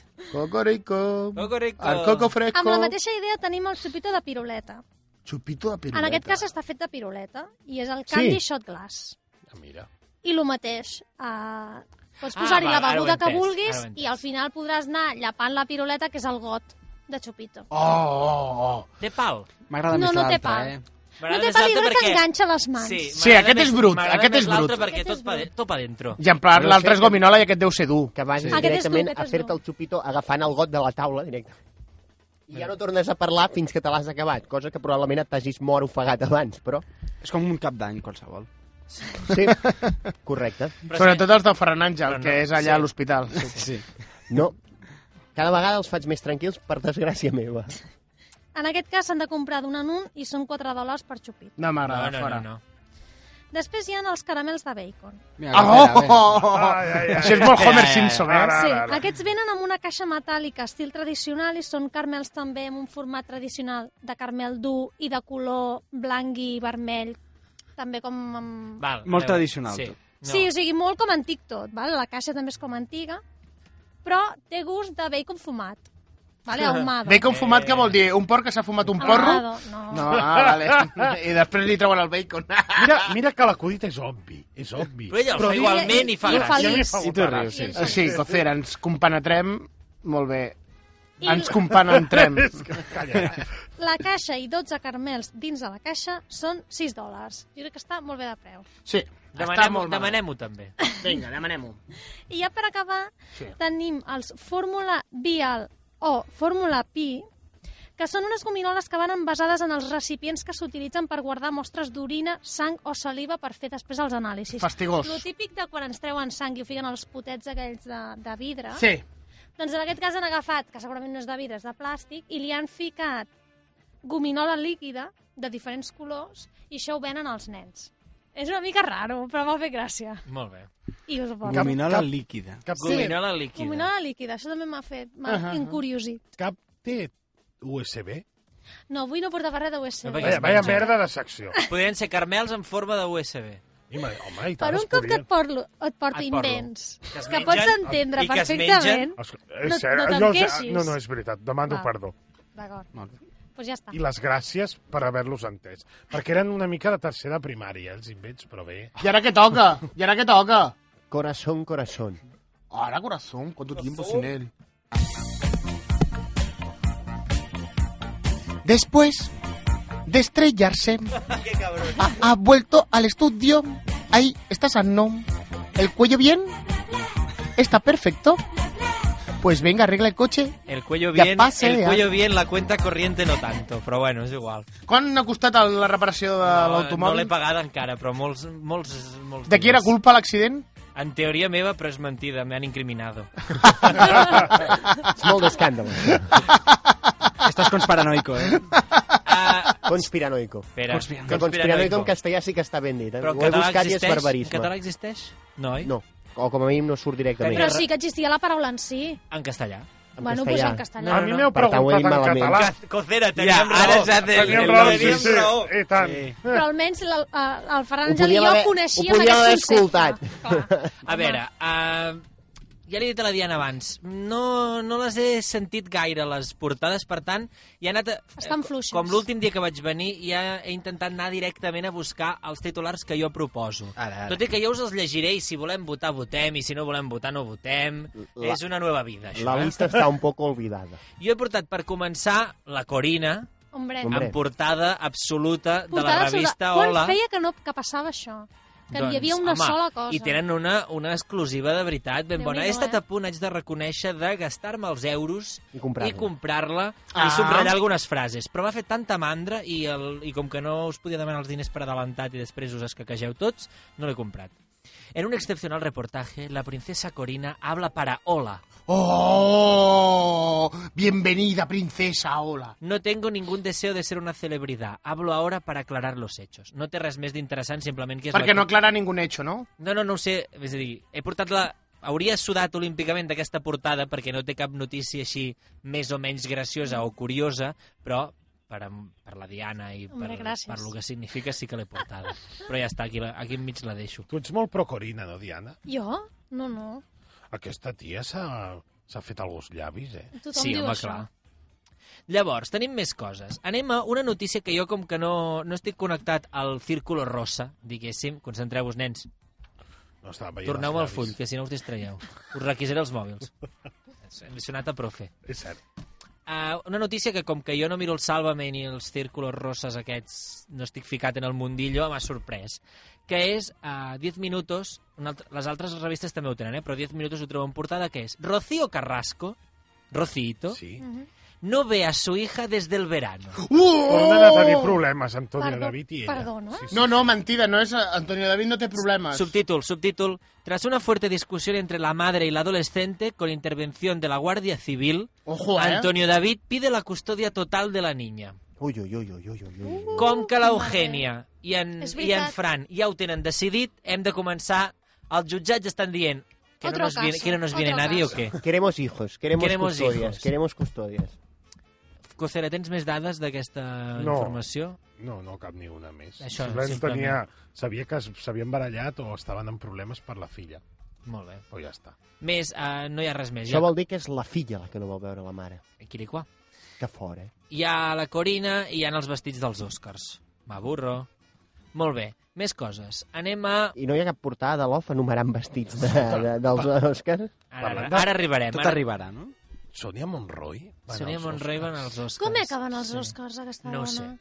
S8: Cocorico.
S6: Cocorico.
S8: Al coco
S5: Amb
S8: fresco.
S5: la mateixa idea tenim el xupito de piruleta.
S1: Xupito de piruleta.
S5: En aquest cas està fet de piruleta i és el candy
S1: Sí.
S5: shot glass.
S1: Ah, mira.
S5: I el mateix, eh, pots
S6: Ah,
S5: posar-hi
S6: va,
S5: la
S6: ara ho he
S5: beguda que
S6: entès,
S5: vulguis
S6: ara ho he entès.
S5: i al final podràs anar llapant la piruleta, que és el got de xupito.
S1: Oh, oh, oh.
S6: Té pal.
S7: M'agrada
S5: No,
S7: més
S5: no té
S7: l'altra,
S5: pal.
S7: eh?
S5: No
S6: M'agrada
S5: té
S6: més
S5: pal, jo
S6: l'altre
S5: crec que
S6: perquè-
S5: enganxa les mans.
S1: Sí,
S6: m'agrada
S1: aquest
S6: més-
S1: és brut,
S6: m'agrada
S1: aquest
S6: més
S1: és brut.
S6: l'altre perquè
S5: Aquest
S6: tot
S5: és
S6: pa,
S5: brut.
S6: tot pa dentro.
S1: I en plan,
S3: No ho sé,
S1: l'altre és
S3: que-
S1: gominola i aquest deu ser dur.
S3: Que vagis
S5: Aquest és tu,
S3: directament
S5: aquest
S3: a
S5: és
S3: fer-te
S5: tu.
S3: el xupito agafant el got de la taula directament. I ja no tornes a parlar fins que te l'has acabat, cosa que probablement et t'hagis mort ofegat abans, però...
S7: eh? És com un cap d'any qualsevol.
S3: Sí, correcte.
S6: Però és
S1: Sobretot els del Ferran Àngel,
S6: Però no,
S1: que és allà
S6: sí.
S1: a l'hospital.
S7: Sí.
S3: No. Cada vegada els faig més tranquils, per desgràcia meva.
S5: En aquest cas s'han de comprar d'un en un i són 4 dòlars per xupit.
S1: No
S6: que- No,
S1: m'agrada,
S6: no, no,
S1: fora.
S6: no.
S5: Després hi ha els caramels de bacon.
S7: Mira,
S1: Ah,
S7: espera,
S1: Oh,
S7: a veure.
S1: oh, oh, oh. Això és molt Homer Simpson, eh?
S5: Ah, Sí, aquests venen amb una caixa metàl·lica estil tradicional i són caramels també amb un format tradicional de caramel dur i de color blanc i vermell, també com... Amb...
S6: Val,
S7: Molt
S6: a veure.
S7: tradicional,
S6: sí.
S7: tot.
S6: No.
S5: Sí, o sigui, molt com antic tot, val? la caixa també és com antiga, però té gust de bacon fumat, vale? ahumado.
S1: Bacon fumat, què vol dir? Un porc que s'ha fumat un porro?
S5: Ahumado, no.
S1: No, ah, vale. I després li treuen el bacon. mira, mira que l'acudit és obvi, és obvi.
S6: Però ella el
S5: Però
S6: fa
S5: ella-
S6: igualment i fa
S5: ella fa
S6: gràcia.
S5: feliç.
S1: I tu rius,
S5: sí.
S1: sí. Sí, Cocera, ens compenetrem molt bé.
S5: I
S1: Ens compenetrem. Calla.
S5: la caixa i 12 caramels dins de la caixa són 6 dòlars. Jo crec que està molt bé de preu.
S1: Sí, està
S6: Demanem-ho
S1: molt mal.
S6: demanem també.
S8: Vinga, demanem-ho.
S5: I ja per acabar, tenim els Fórmula Vial o Fórmula Pi, que són unes gominoles que van envasades en els recipients que s'utilitzen per guardar mostres d'orina, sang o saliva per fer després els anàlisis.
S1: Fastigós.
S5: Lo típic de quan ens treuen sang i ho fiquen als potets aquells de, de vidre,
S1: Sí,
S5: doncs en aquest cas han agafat, que segurament no és de vidre, és de plàstic, i li han ficat gominola líquida de diferents colors i això ho venen als nens. És una mica raro, però m'ha fet gràcia.
S6: Molt bé.
S5: I us ho porto.
S7: Gominola
S1: Cap-
S7: líquida.
S1: cap té,
S6: Gominola líquida. Ah,
S5: Gominola líquida, això també m'ha fet, m'ha
S1: Ahà, ahà.
S5: incuriosit.
S1: cap té USB.
S5: No, avui no portava res de USB.
S6: No, perquè-
S1: Vaya, vaya merda de secció.
S6: Podrien ser carmels en forma de USB.
S1: Ima- Home, i
S5: Per
S1: tant, es
S5: un cop que
S1: podien.
S5: et porto, et porto
S6: Et porto.
S5: invents,
S6: Que es
S5: que
S6: mengen
S5: pots entendre
S6: i que es
S5: perfectament...
S1: Es-
S5: No-
S1: és cert,
S5: no te'n
S1: jo ja-
S5: queixis.
S1: no, no, és veritat, demano
S5: Va.
S1: perdó.
S5: D'acord,
S7: Molt bé.
S5: doncs ja està.
S1: I les gràcies per haver-los entès. Perquè eren una mica de tercera primària, els invents, però bé.
S8: I ara què toca? I ara què toca?
S3: Corazón, corazón.
S8: Ahora corazón, ¿cuánto tiempo sin él?
S9: Después de estrellarse, ha, ha vuelto al estudio. Ahí está sano. ¿El cuello bien? ¿Está perfecto? Pues venga, arregla el coche.
S6: El cuello
S9: Ja
S6: bien,
S9: passa,
S6: el
S9: ja.
S6: cuello bien, la cuenta corriente no tanto, però bueno, és igual.
S1: Quan ha costat el- la reparació de
S6: No
S1: l'automòbil?
S6: l'he pagada encara, però molts, molts, molts
S1: de qui era culpa l'accident?
S6: En teoria meva, però és mentida, me han incriminado.
S3: És molt d'escàndol.
S7: Estàs conspiranoico, eh?
S6: Ah,
S3: Conspiranoico.
S6: espera,
S7: Conspiranoico.
S3: Que conspiranoico en castellà sí que està ben dit. Eh?
S6: Però en
S3: Ho he
S6: català
S3: buscat i és
S6: existeix? En
S3: barbarisme.
S6: català existeix? No, oi?
S3: No, o com a mínim no surt directament.
S5: Però sí que existia la paraula en si.
S6: En castellà.
S3: En castellà.
S5: bueno, doncs en castellà.
S1: a mi m'heu
S3: Per tant, ho he
S1: preguntat
S3: dit
S1: en
S3: malament.
S1: català.
S6: Cocera, teníem ja, raó. Ara ja
S1: Teníem raó, sí, sí, i tant.
S5: Però almenys el, el, el Ferran
S3: Ho
S5: Àngel i
S3: podíem
S5: jo
S3: haver-
S5: coneixíem
S3: ho podíem haver
S5: aquest concepte. Clar.
S6: A veure, uh, ja l'he dit a la Diana abans, no, no les he sentit gaire, les portades, per tant, i he anat... A,
S5: Estan fluixos.
S6: Com l'últim dia que vaig venir, ja he intentat anar directament a buscar els titulars que jo proposo.
S7: Ara, ara.
S6: Tot i que jo us els llegiré i si volem votar, votem, i si no volem votar, no votem.
S3: La-
S6: És una nova vida, això.
S3: La
S6: eh?
S3: lista està un poc olvidada.
S6: Jo he portat, per començar, la Corina,
S5: Hombre,
S3: Hombre.
S6: amb portada absoluta de la
S5: portada sobre-
S6: revista Hola. Doncs,
S5: Quan feia que no que passava això? Que hi havia una
S6: home,
S5: sola cosa.
S6: I tenen una, una exclusiva de veritat ben
S5: Déu-n'hi-do,
S6: bona. He estat
S5: eh?
S6: a punt, haig de reconèixer, de gastar-me els euros
S3: I comprar-la.
S6: i comprar-la i
S8: Ah.
S6: subratllar algunes frases. Però m'ha fet tanta mandra i, el, i com que no us podia demanar els diners per adelantat i després us escaquegeu tots, no l'he comprat. En un excepcional reportaje, la princesa Corina habla para Hola.
S8: ¡Oh! Bienvenida, princesa, hola.
S6: No tengo ningún deseo de ser una celebridad. Hablo ahora para aclarar los hechos. No té res més d'interessant, simplement que és
S1: Perquè
S6: la...
S1: no aclara ningú hecho, no?
S6: No, no, no ho sé. És a dir, he portat la... Hauria sudat olímpicament d'aquesta portada perquè no té cap notícia així més o menys graciosa o curiosa, però per, am- per la Diana i
S5: Hombre,
S6: per,
S5: gràcies.
S6: per lo que significa sí que l'he portada. Però ja està, aquí, la- aquí enmig la deixo.
S1: Tu ets molt procorina, no, Diana?
S5: Jo? No, no.
S1: Aquesta tia s'ha s'ha fet alguns llavis, eh?
S5: Tothom diu
S6: home,
S5: això.
S6: Llavors, tenim més coses. Anem a una notícia que jo, com que no, no estic connectat al círculo rosa, diguéssim, concentreu-vos, nens.
S1: No estava veient
S6: Torneu
S1: els
S6: al
S1: llavis.
S6: full, que si no us distraieu. Us requisaré els mòbils. Hem sonat a profe.
S1: És cert.
S6: Uh, una notícia que, com que jo no miro el Sálvame ni els círculos roses aquests, no estic ficat en el mundillo, m'ha sorprès. Que és uh, 10 minutos, una altra, les altres revistes també ho tenen, eh? però 10 minutos ho trobo en portada, que és Rocío Carrasco, Rocito,
S1: sí.
S6: no ve a su hija desde el verano.
S1: Oh! Han anat a dir problemes, Antonio
S6: Perdó-
S1: David i ella.
S6: perdona.
S1: Sí, sí.
S8: No, no, mentida, no es Antonio David no te problemas.
S6: Subtítulo, subtítulo. Tras una fuerte discusión entre la madre y la adolescente con intervención de la Guardia Civil,
S8: Ojo, eh?
S6: Antonio David pide la custodia total de la niña.
S3: Ui, ui, ui, ui, ui, ui, ui.
S6: Com que l'Eugènia i, en,
S5: És
S6: i en
S5: veritat.
S6: Fran ja ho tenen decidit, hem de començar... Els jutjats estan dient que no
S5: Otro
S6: nos viene,
S5: caso,
S6: que no nos viene
S5: otro
S6: nadie o
S5: caso.
S6: què?
S3: Queremos hijos, queremos,
S6: Queremos
S3: custodias,
S6: hijos.
S3: queremos custodias.
S6: Cocera, tens més dades d'aquesta
S1: No.
S6: informació?
S1: No, no cap ni una més.
S6: Això,
S1: Simplement
S6: simplement.
S1: tenia, sabia que s- s'havien barallat o estaven en problemes per la filla.
S6: Molt bé.
S1: Però ja està.
S6: Més, eh, no hi ha res més.
S3: Això vol dir que és la filla la que no vol veure la mare.
S6: Quiriquà.
S3: Que fort, eh?
S6: hi ha la Corina i hi ha els vestits dels Oscars. M'aburro. Molt bé, més coses. Anem a...
S3: I no hi ha cap portada de l'OF enumerant vestits de, de, dels Oscars?
S6: Ara, ara, ara arribarem.
S7: Tot
S6: ara...
S7: arribarà, no?
S1: Sonia Monroy? va anar
S6: Sonia
S1: als
S6: Monroy va
S1: Oscars.
S6: anar als Oscars.
S5: Com acaben els Oscars, aquesta
S6: No ho
S5: dona?
S6: sé.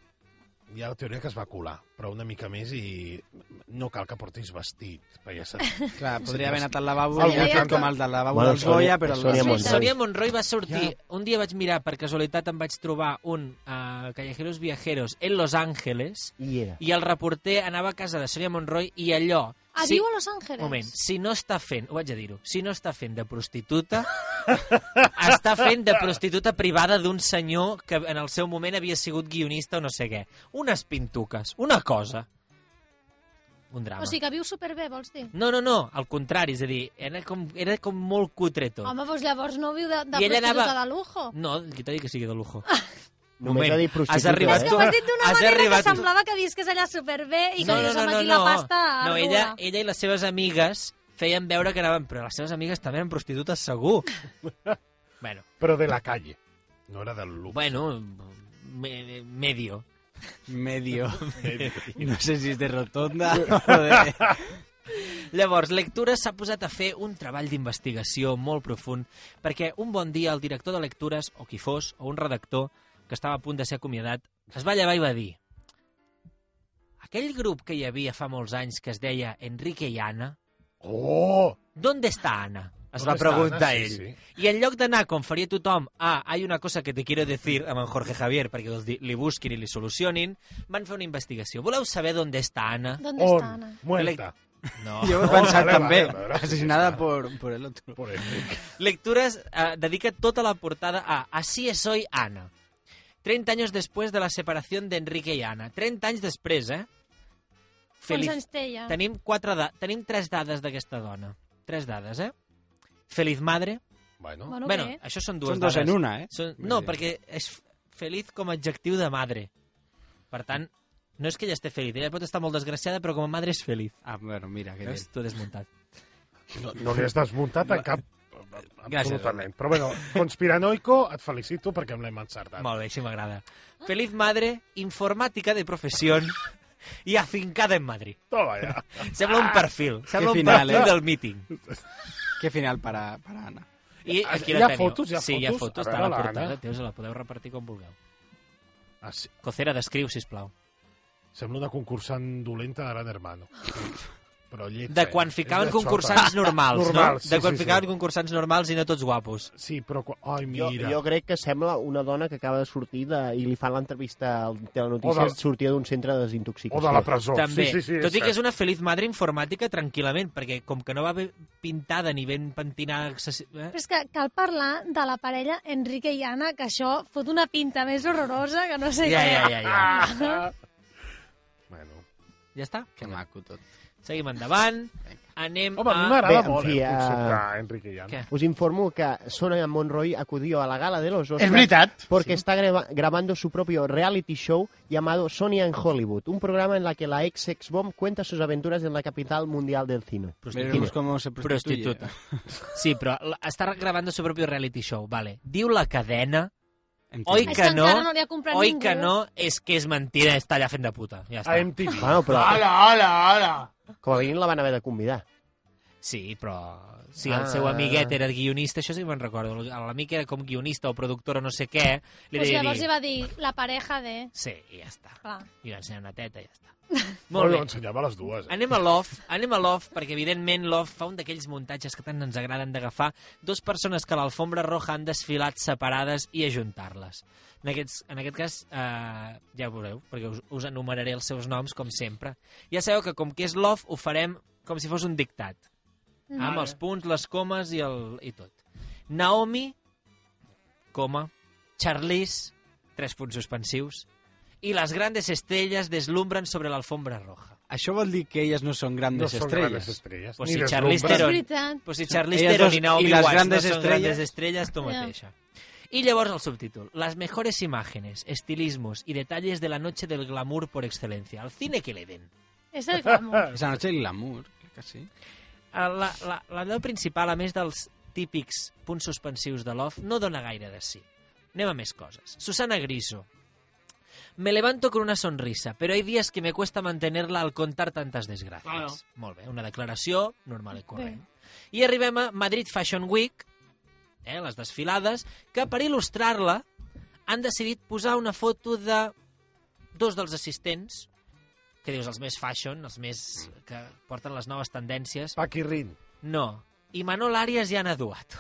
S1: Hi ha la teoria que es va colar, però una mica més i no cal que portis vestit. perquè Ja saps.
S7: Clar, podria haver anat al lavabo
S1: Al
S7: i ha
S1: vuitanta.
S7: fet com el del lavabo
S3: Bueno,
S7: dels
S3: Sonia-
S7: Goya, però...
S3: Sonia
S7: el-
S3: Monroy.
S6: Sonia Monroy va sortir... Un dia vaig mirar, per casualitat em vaig trobar un uh, Callejeros Viajeros en Los Ángeles
S3: I era.
S6: i el reporter anava a casa de Sonia Monroy i allò...
S5: Ah,
S6: si-
S5: viu a Los Angeles?
S6: moment, si no està fent, ho vaig a dir-ho, si no està fent de prostituta, està fent de prostituta privada d'un senyor que en el seu moment havia sigut guionista o no sé què. Unes pintuques, una cosa. Un drama.
S5: O sigui que viu superbé, vols dir?
S6: No, no, no, al contrari, és a dir, era com, era com molt cutre tot.
S5: Home, doncs llavors no viu de, de
S6: I ella
S5: prostituta
S6: anava-
S5: de lujo.
S6: No, qui t'ha dit que sigui de lujo?
S3: Només ha dit
S6: has
S3: prostituta,
S6: arribat
S5: És que
S6: tu-
S5: ho has dit d'una
S6: has
S5: manera que
S6: arribat tu-
S5: semblava que visques allà superbé i que dius, home, aquí la pasta
S6: no
S5: arrua.
S6: ella, ella i les seves amigues feien veure que anaven... Però les seves amigues també eren prostitutes, segur. bueno,
S1: Però de la calle. No era del look.
S6: bueno, me- medio.
S7: Medio. No sé si és de rotonda o de...
S6: Llavors, Lectura s'ha posat a fer un treball d'investigació molt profund perquè un bon dia el director de Lectures, o qui fos, o un redactor, que estava a punt de ser acomiadat, es va llevar i va dir aquell grup que hi havia fa molts anys que es deia Enrique i Ana,
S1: Oh!
S6: ¿dónde està Ana? Es va
S1: ¿Dónde está
S6: preguntar
S1: Ana?
S6: ell.
S1: Sí,
S6: I en lloc d'anar com faria tothom a hay una cosa que te quiero decir amb en Jorge Javier perquè els di- li busquin i li solucionin, van fer una investigació. Voleu saber d'on està Ana?
S5: D'on
S1: On?
S5: està, Anna?
S1: Muerta.
S6: No.
S7: Jo ho he pensat
S1: vale,
S7: també.
S1: vale, vale.
S7: Asesinada por, por el otro.
S1: Por el...
S6: Lecturas eh, dedica toda la portada a Así es hoy Ana. 30 años después de la separación de Enrique y Ana. 30 anys després, eh?
S5: Quants
S6: Feliz...
S5: anys té ella?
S6: Tenim, quatre da... Tenim tres dades d'aquesta dona. Tres dades, eh? Feliz madre.
S1: Bueno,
S5: Bueno,
S6: bueno,
S5: bé.
S6: això són dues
S7: Són dos
S6: dades.
S7: en una, eh?
S6: Són...
S7: Vull
S6: No,
S7: dir.
S6: perquè és f- feliz com a adjectiu de madre. Per tant, no és que ella esté feliz. Ella pot estar molt desgraciada, però com a madre és feliz.
S7: Ah, bueno, mira, que bé.
S6: Veus? T'ho he desmuntat.
S1: no, no li has desmuntat en cap...
S7: Gràcies,
S1: Absolutament. Però bueno, conspiranoico, et felicito perquè em l'hem encertat.
S6: Molt bé, així m'agrada. Feliz madre, informàtica de professió i afincada en Madrid.
S1: Toma ja.
S6: Sembla
S1: Ah!
S6: un perfil, sembla un
S7: final,
S6: perfil
S7: eh?
S6: del míting.
S7: Qué final para, para Ana.
S6: I
S1: Ah,
S6: aquí
S1: hi
S6: la
S1: ha
S6: teniu.
S1: fotos? Hi ha
S6: sí, hi ha
S1: fotos?
S6: fotos,
S1: A
S6: està a
S1: veure,
S6: la
S1: la
S6: portada.
S1: Anna.
S6: Teu, se la podeu repartir com vulgueu.
S1: Ah, sí.
S6: Cocera, descriu, sisplau.
S1: Sembla una concursant dolenta de Gran Hermano. Però lleig,
S6: De
S1: eh?
S6: quan
S1: És
S6: ficaven
S1: de
S6: concursants
S1: xota.
S6: normals,
S1: Normals,
S6: no?
S1: sí,
S6: De quan
S1: sí, sí.
S6: ficaven concursants normals i no tots guapos.
S1: Sí, però... Quan... Ai,
S3: Jo,
S1: mira.
S3: jo crec que sembla una dona que acaba de sortir de, i li fan l'entrevista al telenotícia
S1: O de-
S3: de... sortida d'un centre de
S1: O de la
S3: desintoxicació.
S1: presó.
S6: També.
S1: Oh, Sí, sí, sí,
S6: Tot i que és
S1: cert.
S6: una feliç madre informàtica, tranquil·lament, perquè com que no va ben pintada ni ben pentinada... excessi- Eh?
S5: Però és que cal parlar de la parella Enrique i Anna, que això fot una pinta més horrorosa que no sé
S6: Ja,
S5: què.
S6: ja, ja, ja.
S1: Bueno,
S6: Ja està?
S7: Que maco tot.
S6: Seguim endavant. anem
S1: Home, a mi
S6: a...
S1: m'agrada
S3: Bé,
S1: molt
S3: en fi,
S1: el concepte
S3: eh,
S1: Ah, Enrique Llán.
S6: Què?
S3: Os informo que Sonia Monroy acudió a la gala de los Oscars
S8: Es verdad.
S3: porque está greba- grabando su propio reality show llamado Sonia en Hollywood, un programa en la que la ex sex bomb cuenta sus aventuras en la capital mundial del cine.
S7: Veremos cómo se prostituye.
S6: Prostituta. Sí, però la- està gravando su propio reality show, vale. Diu la cadena,
S7: Entiendo.
S6: oi
S5: És
S6: que
S5: que
S6: no,
S5: encara no li ha comprat
S6: oi
S5: ningú. Doncs
S6: que no, és que és mentida, està allà fent de puta. Ja
S1: A
S6: està.
S1: MTV.
S3: Bueno, però
S8: ¡Hala, hala, hala!
S3: com a mínim la van haver de convidar.
S6: Sí, però si
S3: Ah.
S6: el seu amiguet era guionista, això sí que me'n recordo, l'amic era com guionista o productora o no sé què, li
S5: Pues
S6: deia
S5: llavors
S6: dir...
S5: hi va dir la pareja de...
S6: Sí, i ja està.
S5: Clar.
S6: I va ensenyar una teta i ja està.
S1: Molt
S6: Molt
S1: bé.
S6: bé.
S1: ensenyava les dues. Eh?
S6: Anem a Love, anem a Love, perquè evidentment Love fa un d'aquells muntatges que tant ens agraden d'agafar dos persones que a l'alfombra roja han desfilat separades i ajuntar-les. En, aquests, en aquest cas, eh, ja ho veureu, perquè us, us enumeraré els seus noms, com sempre. Ja sabeu que com que és Love, ho farem com si fos un dictat,
S5: Mm.
S6: amb els punts, les comes i, el, i tot. Naomi, coma, Charlize, tres punts suspensius, i les grandes estrelles deslumbran sobre l'alfombra roja.
S7: Això vol dir que ellas no son
S1: No
S7: grandes
S1: són
S7: estrellas.
S1: grandes estrelles.
S6: Pues
S1: ni
S6: si
S1: deslumbren.
S6: Charlize
S5: És
S6: Theron-
S5: veritat.
S6: Pues si Charlize
S7: Elles
S6: Theron
S7: dos
S6: i Naomi
S7: i les
S6: Watts
S7: grandes
S6: no són
S7: estrellas.
S6: grandes estrellas, tú
S5: Ya.
S6: mateixa. Y llevamos al subtítulo. Las mejores imágenes, estilismos y detalles de la noche del glamour por excelencia. Al cine que le den.
S5: És el glamour.
S7: Esa noche el glamour, casi.
S6: A Eh, La, la, la veu principal, a més dels típics punts suspensius de Love, no dona gaire de sí. Anem a més coses. Susana Griso. Me levanto con una sonrisa, pero hay días que me cuesta mantenerla al contar tantas desgracias.
S8: Claro.
S6: Molt bé, una declaració normal i corrent. I arribem a Madrid Fashion Week, eh, les desfilades, que per il·lustrar-la han decidit posar una foto de dos dels assistents, que dius els més fashion, els més que porten les noves tendències.
S1: Paqui Rin.
S6: No, i Manol Arias i Anna Duato.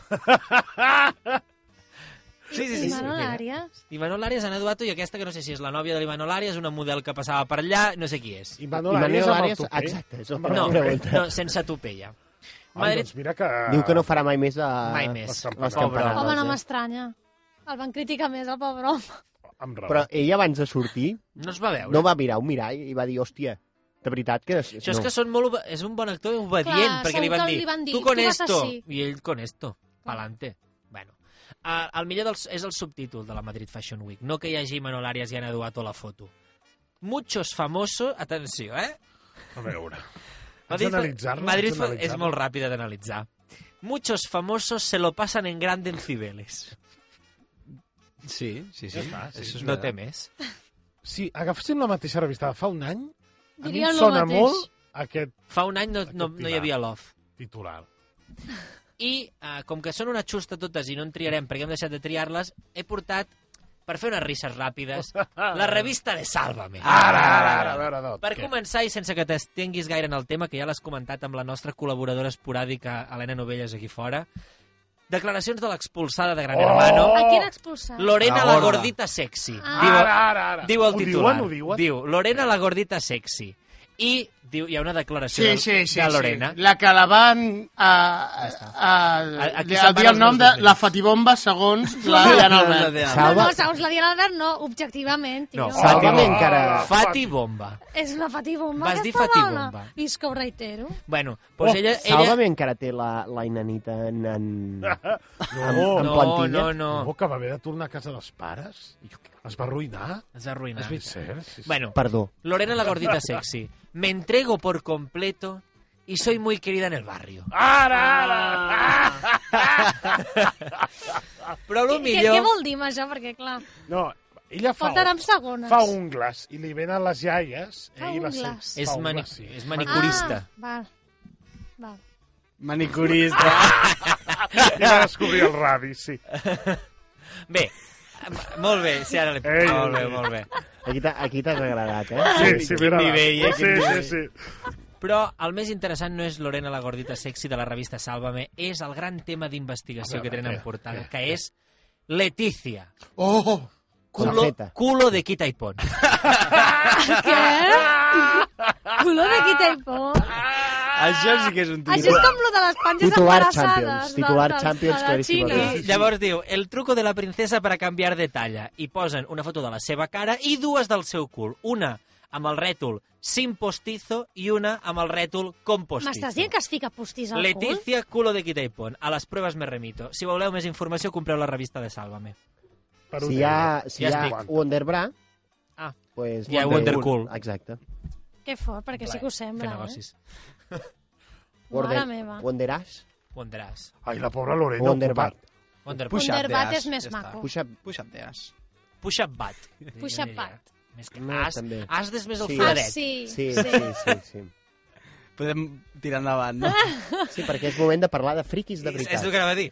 S6: sí, sí, sí.
S5: Manol
S6: mira.
S5: Arias.
S6: Imanol Arias, Anna Duato i aquesta que no sé si és la nòvia de l'Imanol Arias, una model que passava per allà, no sé qui és.
S1: I
S3: I
S1: Manol
S3: Manolo
S1: Arias amb el
S3: Arias-
S1: tupé.
S3: exacte, és el
S1: Amb
S3: que
S1: el
S6: No,
S3: Bona
S1: tupé.
S3: pregunta.
S6: no sense tupella.
S1: Home,
S6: Madrid,
S1: doncs mira que...
S3: Diu que no farà mai més de...
S6: mai més.
S1: les
S3: Les
S1: Pobre
S3: campanades,
S5: Home, no
S3: eh?
S5: m'estranya. El van criticar més, el pobre home.
S1: Amb raó.
S3: Però ella abans de sortir
S6: No es va veure.
S3: no va mirar un mirall i va dir, hòstia, de veritat que...
S6: Això és
S3: no.
S6: que són molt, obe- és un bon actor i obedient,
S5: Clar,
S6: perquè li
S5: segur
S6: van,
S5: que
S6: dir,
S5: li van dir,
S6: tu con
S5: "Tu vas
S6: esto,
S5: així".
S6: i ell con esto, pa'lante. Bueno, Ah, el millor dels, és el subtítol de la Madrid Fashion Week, no que hi hagi Manol Arias i Ana Duato a la foto. Muchos famosos, atenció, eh?
S1: A veure. Has
S6: Madrid,
S1: d'analitzar-lo,
S6: Madrid
S1: has d'analitzar-lo.
S6: és molt ràpida d'analitzar. Muchos famosos se lo pasan en grande en Cibeles.
S7: Sí, sí, sí.
S1: Ya está, sí.
S7: Eso es
S6: No
S7: verdad.
S6: té més.
S1: Si agaféssim la mateixa revista de fa un any, a mi
S5: Diria
S1: em
S5: el
S1: sona
S5: mateix.
S1: molt aquest
S6: Fa un any no, no,
S1: Aquest
S6: no hi havia love.
S1: titular.
S6: I eh, com que són una xusta totes i no en triarem perquè hem deixat de triar-les, he portat, per fer unes risses ràpides, la revista de Sálvame.
S1: Ara, ara, ara, a veure, Dot.
S6: Per
S1: Ah, què?
S6: començar, i sense que t'estenguis gaire en el tema, que ja l'has comentat amb la nostra col·laboradora esporàdica, Helena Novelles, aquí fora, declaracions de l'expulsada de Gran
S1: Oh!
S6: Hermano,
S5: A qui han expulsat?
S6: Lorena
S7: La
S6: la,
S7: gorda.
S6: gordita sexy.
S5: Ah.
S6: Diu,
S1: Ara, ara, ara.
S6: diu el
S1: Ho
S6: titular.
S1: Diuen, ho diuen?
S6: Diu, Lorena la gordita sexy. I diu, hi ha una declaració
S8: Sí,
S6: de,
S8: sí, sí.
S6: de
S8: sí.
S6: Lorena.
S8: La que la van a, a, a,
S6: Aquí
S8: li-
S6: separa
S8: el dia el
S6: els
S8: nom
S6: dos
S8: de
S6: nivells.
S8: la Fatibomba segons la
S7: La
S8: Diana
S7: de
S8: Albert.
S7: Albert.
S5: No,
S3: Salva-
S5: no, segons la Diana Albert, no, objectivament, tio.
S6: No,
S1: Hola,
S3: Sálvame encara.
S1: hola,
S6: Fati Bomba.
S5: És una fatibomba,
S6: Vas dir
S5: aquesta dona.
S6: fatibomba.
S5: I és que ho reitero.
S6: Bueno, doncs
S1: Oh,
S6: ella... ella...
S3: Sálvame encara té la, la inanita en, en,
S1: No,
S3: en
S1: no,
S6: No,
S3: plantilla.
S6: no,
S1: no.
S6: no.
S1: que va haver de tornar a casa dels pares. Es va arruïnar.
S6: Es va arruïnar.
S1: És ben Ah, cert. Sí, sí.
S6: Bueno,
S3: Perdó.
S6: Lorena la gordita sexy. Me entrego por completo y soy muy querida en el barrio.
S1: Ara, ara! Ah!
S6: Però
S5: Què,
S6: el
S5: què, què
S6: millor...
S5: vol dir amb això? Perquè, clar,
S1: No, ella fa,
S5: porten amb segones.
S1: fa ungles i li venen les iaies.
S5: Fa
S1: eh, i les-
S5: ungles.
S1: fa
S6: És, mani
S1: ungles, sí.
S6: és manicurista.
S5: Ah, val. Val.
S7: Manicurista.
S1: I va descobrir el radi, sí.
S6: Bé, m- molt bé, sí, ara l'he...
S1: Ei,
S6: Molt bé,
S1: ei.
S6: molt bé.
S3: Aquí t'ha- aquí t'has agradat, eh?
S1: Sí, sí, mira.
S6: nivell, eh,
S1: Sí,
S6: quin
S1: sí,
S6: nivell.
S1: sí.
S6: Però el més interessant no és Lorena la gordita sexy de la revista Sálvame, és el gran tema d'investigació
S1: A
S6: que
S1: veure,
S6: tenen en
S1: què,
S6: portada,
S1: què,
S6: que és Leticia.
S8: Oh,
S6: Culo,
S3: feta.
S6: culo de quita i pon.
S5: Què? Color de quita i por.
S7: Això sí que és un
S5: Això és
S7: titular.
S5: com lo de les panges
S3: Titular
S5: embarassades.
S3: Champions,
S5: de-
S3: titular
S5: de- de
S3: Champions
S5: la
S3: claríssimament.
S5: Xina.
S6: I llavors diu, el truco de la princesa per a canviar de talla. I posen una foto de la seva cara i dues del seu cul. Una amb el rètol sin postizo i una amb el rètol con
S5: M'estàs
S6: postizo.
S5: dient que es fica postís al cul?
S6: Leticia, culo de quita i pon. A les proves me remito. Si voleu més informació, compreu la revista de Sálvame.
S1: Per
S3: Si hi ha, si
S6: Ja
S3: hi ha
S6: estic.
S3: Wonderbra,
S6: Ah.
S3: pues
S6: Hi ha Wondercool.
S3: Exacte.
S5: Que fort, perquè sí que ho
S6: Fer
S5: sembla. Eh?
S6: negocis.
S5: Mare meva.
S3: Wonderash,
S6: Wonderàs.
S1: Ai, la pobra Lorena.
S3: Wonderbat.
S1: ocupat.
S6: Wonder...
S5: Push-up.
S6: Push-up
S5: Wonder Bat
S7: de
S5: és
S7: as,
S5: més
S7: ja
S5: maco.
S3: Push-up.
S7: està. Push-up de as.
S6: bat.
S5: Push-up bat.
S6: Més que
S3: No,
S6: as,
S3: també.
S6: as des més el
S3: Sí.
S5: Ah,
S6: foradet.
S5: sí.
S3: Sí, sí, sí, sí, sí.
S7: Podem tirar endavant, no?
S3: Sí, perquè és moment de parlar de friquis de
S6: És, és el
S3: veritat.
S6: que anava a dir.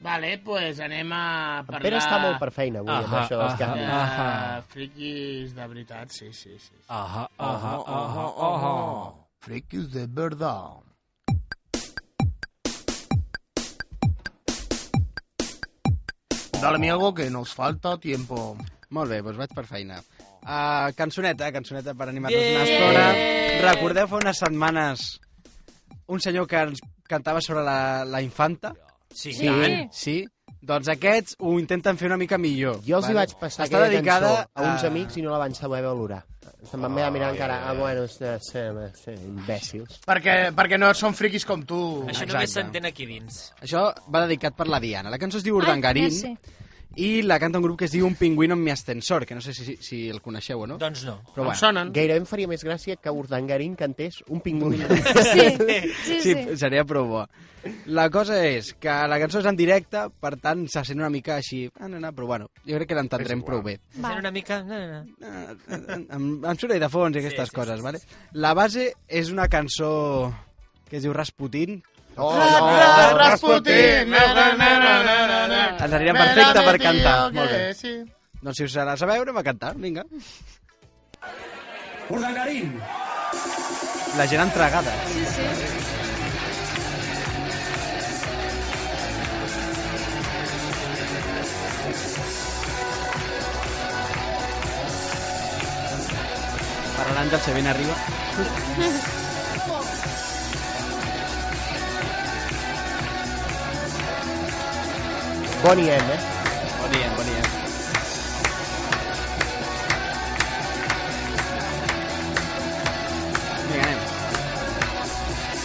S8: Vale, pues anem a
S3: En
S8: parlar...
S3: Pere està molt per feina avui, amb
S6: Ahà,
S3: això dels
S6: ahà.
S8: de
S3: canvis.
S6: Ahà.
S8: Ah, friquis de veritat, sí, sí, sí.
S6: Aha, aha, aha, aha.
S9: Frikis de verdad. Dale mi algo que nos falta tiempo.
S7: Molt bé, doncs vaig per feina. Uh, cançoneta, cançoneta per animar-nos
S6: Yeah!
S7: una estona. Recordeu fa unes setmanes un senyor que ens cantava sobre la, la infanta?
S6: Sí,
S5: Sí.
S6: tant.
S7: Sí? Doncs aquests ho intenten fer una mica millor.
S3: Jo els hi vaig passar
S7: Està
S3: aquella
S7: dedicada
S3: cançó a uns amics i no la van saber valorar. Se'n van mirar mirant encara, ah, bueno, sí, sí, sí, imbècils.
S8: Perquè, perquè no són friquis com tu.
S6: Això
S7: Exacte.
S6: només s'entén aquí dins.
S7: Això va dedicat per la Diana. La cançó es diu
S5: Ai,
S7: Urdangarín
S5: ja sé.
S7: i la canta un grup que es diu Un pingüino en mi ascensor, que no sé si, si el coneixeu o no.
S6: Doncs no.
S7: Però
S8: Em sonen.
S3: Gairebé em faria més gràcia que Urdangarín cantés un pingüí.
S5: Sí, sí,
S7: sí,
S5: sí.
S7: seria prou bo. La cosa és que la cançó és en directe, per tant, se sent una mica així... Ah, no, no, però bueno, jo crec que l'entendrem prou bé.
S5: Va.
S6: Sent una mica... No, no, no.
S7: Ah, Amb, amb soroll de fons i aquestes
S6: sí,
S7: coses, vale? La base és una cançó que es diu Rasputin.
S3: Oh,
S8: Ah,
S3: no.
S8: Rasputin! Na, na, na, na, na, na, na.
S5: Ah.
S7: Ens aniria perfecte per
S8: Melody,
S7: cantar.
S8: ok,
S7: Molt bé.
S8: Sí.
S7: Doncs si us la sabeu, anem a cantar, vinga. Urdangarín! La gent entregada.
S5: Sí, sí.
S7: Para l'Àngel se ven arriba.
S3: Bonnie M, eh?
S7: Bon dia, bon dia.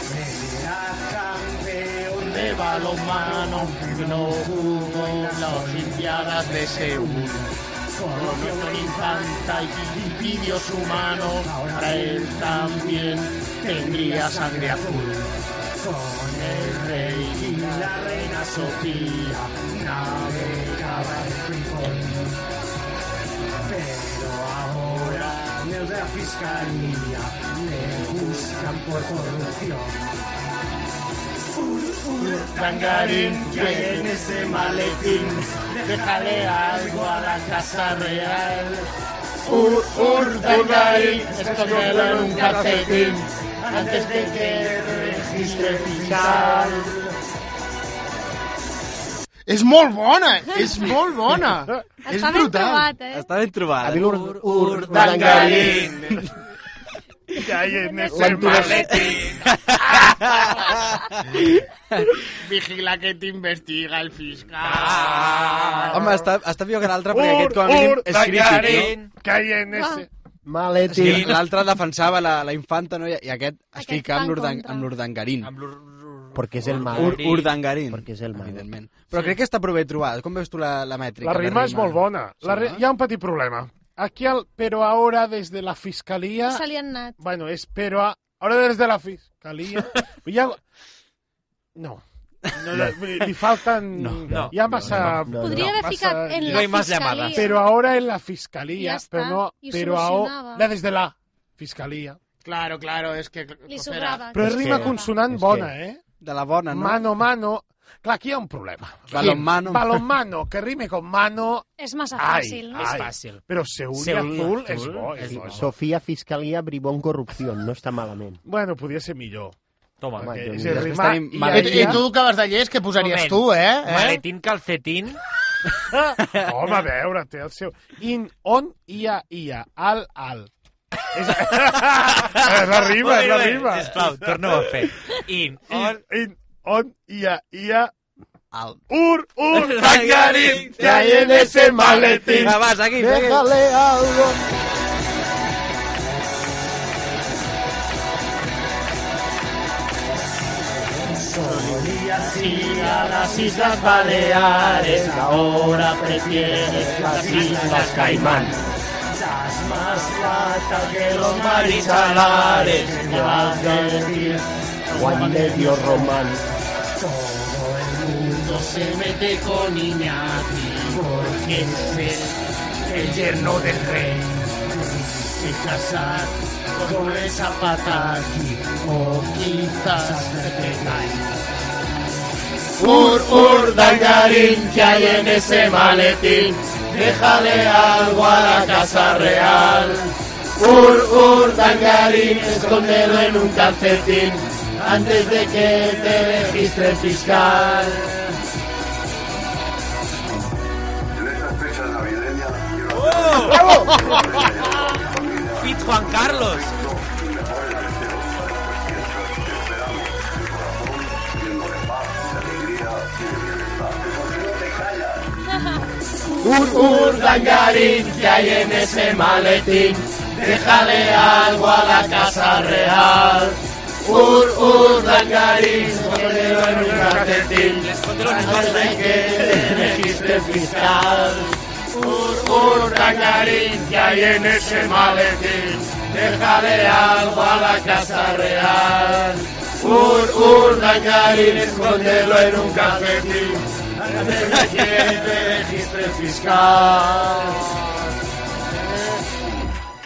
S7: Vinga, anem.
S8: De balonmano, no hubo las olimpiadas de Seúl. Solo nuestro infanta y pidió su mano, ahora él también tendría sangre azul. Con el rey y la reina Sofía navegaba el bribón. Pero ahora en la fiscalía le buscan por corrupción. Tangarín, en ese maletín, déjale algo a la casa real. Ur, ur, Tangarín, escóndelo en un calcetín, antes de que registre fiscal. És molt bona, és molt bona.
S5: Et fa ben trobat, eh?
S7: Està ben
S3: A
S7: trobada.
S3: mi l'Ur- Urdangarín
S8: Tangarín.
S3: l'entonés...
S8: Vigila que t'investiga el
S3: Ah,
S8: fiscal.
S7: Home, està, està millor que l'altre, perquè aquest com a mínim és crític,
S6: Tangarín.
S1: Que hi
S3: Ah.
S1: en
S5: Va.
S1: ese...
S7: no?
S3: Maletín.
S7: Sí, l'altre defensava la, la infanta, no? I, i aquest es
S5: Aquest
S7: fica
S5: va en
S7: amb l'urdan-
S5: contra.
S7: amb l'urdangarín.
S6: Amb l'ur...
S3: Perquè és el mal.
S7: Ur, urdangarín.
S3: Perquè és el mal.
S7: Evidentment. Però crec que està prou bé trobada. Com veus tu la, la mètrica?
S1: La rima és molt bona. La ri...
S7: no?
S1: Hi ha un petit problema. Aquí, al... però ara, des de la fiscalia...
S5: Se li han anat.
S1: Bueno, es pero a- ahora desde la fiscalía. ya... No. no le, le faltan.
S7: No, no,
S1: ya masa.
S3: no, no.
S5: Podria haver ficat en
S6: No
S5: la
S6: hay más
S5: fiscalia.
S6: llamadas.
S1: Pero ahora en la
S5: Ya
S1: fiscalía.
S5: está,
S1: Pero no.
S5: y
S1: Pero ahora.
S5: solucionaba.
S1: la desde la fiscalía.
S8: Claro, claro, es que...
S5: Li
S8: cocera.
S5: sobrava.
S1: Pero
S3: Es
S1: es rima
S3: que-
S1: consonant
S3: es
S1: bona,
S3: que-
S1: ¿eh?
S7: De la bona, no?
S1: Mano, mano. Claro, aquí hay un problema.
S7: Balonmano.
S1: Balonmano, que rime con mano.
S5: És massa
S1: Ai,
S5: fàcil, no?
S1: ai.
S6: És fàcil.
S1: Pero Seúl, y
S6: Seúl i
S1: azul es
S6: Azul
S1: bo.
S6: és
S1: és
S6: bo.
S1: bo.
S3: Sofia, Fiscalia, Bribón, Corrupció. No està malament.
S1: Bueno, podría ser millor.
S6: Toma. eh,
S3: Home,
S1: perquè
S3: jo
S1: és
S3: mira,
S1: el
S7: després
S1: rimar
S7: tenim
S1: i
S8: I,
S7: Maletín.
S1: el-
S8: I tu que vas de llest, què posaries
S6: Moment.
S8: tu, eh? eh?
S6: Maletín, calcetín.
S1: Home, a veure, té el seu... In, on, ia, ia, al, al. És, és la rima, és la
S6: Molt bé,
S1: rima.
S6: Sisplau, torna-ho a fer. In, on...
S1: In, in, on, ia, ia,
S7: Al.
S1: ur, ur,
S6: Tangarín,
S1: que hay en ese maletín.
S7: Vinga, va, seguim, seguim.
S3: Déjale algo.
S4: Solías ir a las Islas Baleares, ahora prefieres las Islas Caimán. Estás más lata que los marisalares, te vas a decir Juan medio román. Todo el mundo se mete con Iñaki, porque es el, el yerno del rey. Se casar con esa pataki, o quizás te pegan. Ur, ur, dangarín, que hay en ese maletín, déjale algo a la casa real. Ur, ur, dangarín, escóndelo en un calcetín, antes de que te registre el fiscal.
S6: Fit Juan Carlos.
S4: Ur, ur, dangarín, que hay en ese maletín, déjale algo a la casa real. Ur, ur, dangarín, escóndelo en un calcetín, antes de que te registre el fiscal. Ur, ur, dangarín, que hay en ese maletín, déjale algo a la casa real. Ur, ur, dangarín, escóndelo en un calcetín, antes de que te registre el fiscal.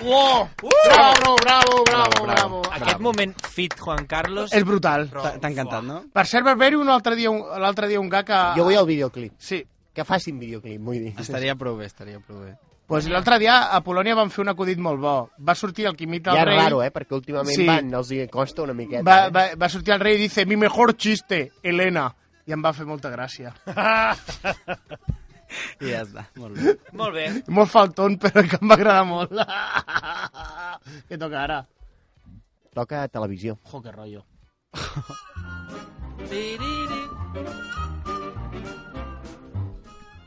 S8: ¡Wow! Bravo, bravo, bravo, bravo.
S6: Aquest moment fit Juan Carlos...
S8: És brutal.
S7: T'ha encantat, no?
S8: Per ser Barberi, un altre dia, un- l'altre dia un gag a...
S3: Jo vull el videoclip.
S8: Sí.
S3: Que facin videoclip, vull dir.
S7: Estaria prou bé, estaria prou bé.
S8: Pues l'altre dia a Polònia van fer un acudit molt bo. Va sortir el que imita
S3: Ja és
S8: el rei...
S3: raro, eh? Perquè últimament
S8: Sí.
S3: van, els hi costa una miqueta.
S8: va,
S3: eh?
S8: va, va sortir el rei i dice mi mejor chiste, Elena. I em va fer molta gràcia.
S7: I ja està, molt bé.
S6: Molt bé.
S8: molt faltón, però que em va agradar molt. Què toca ara?
S3: Toca a televisió.
S8: Jo, que rotllo.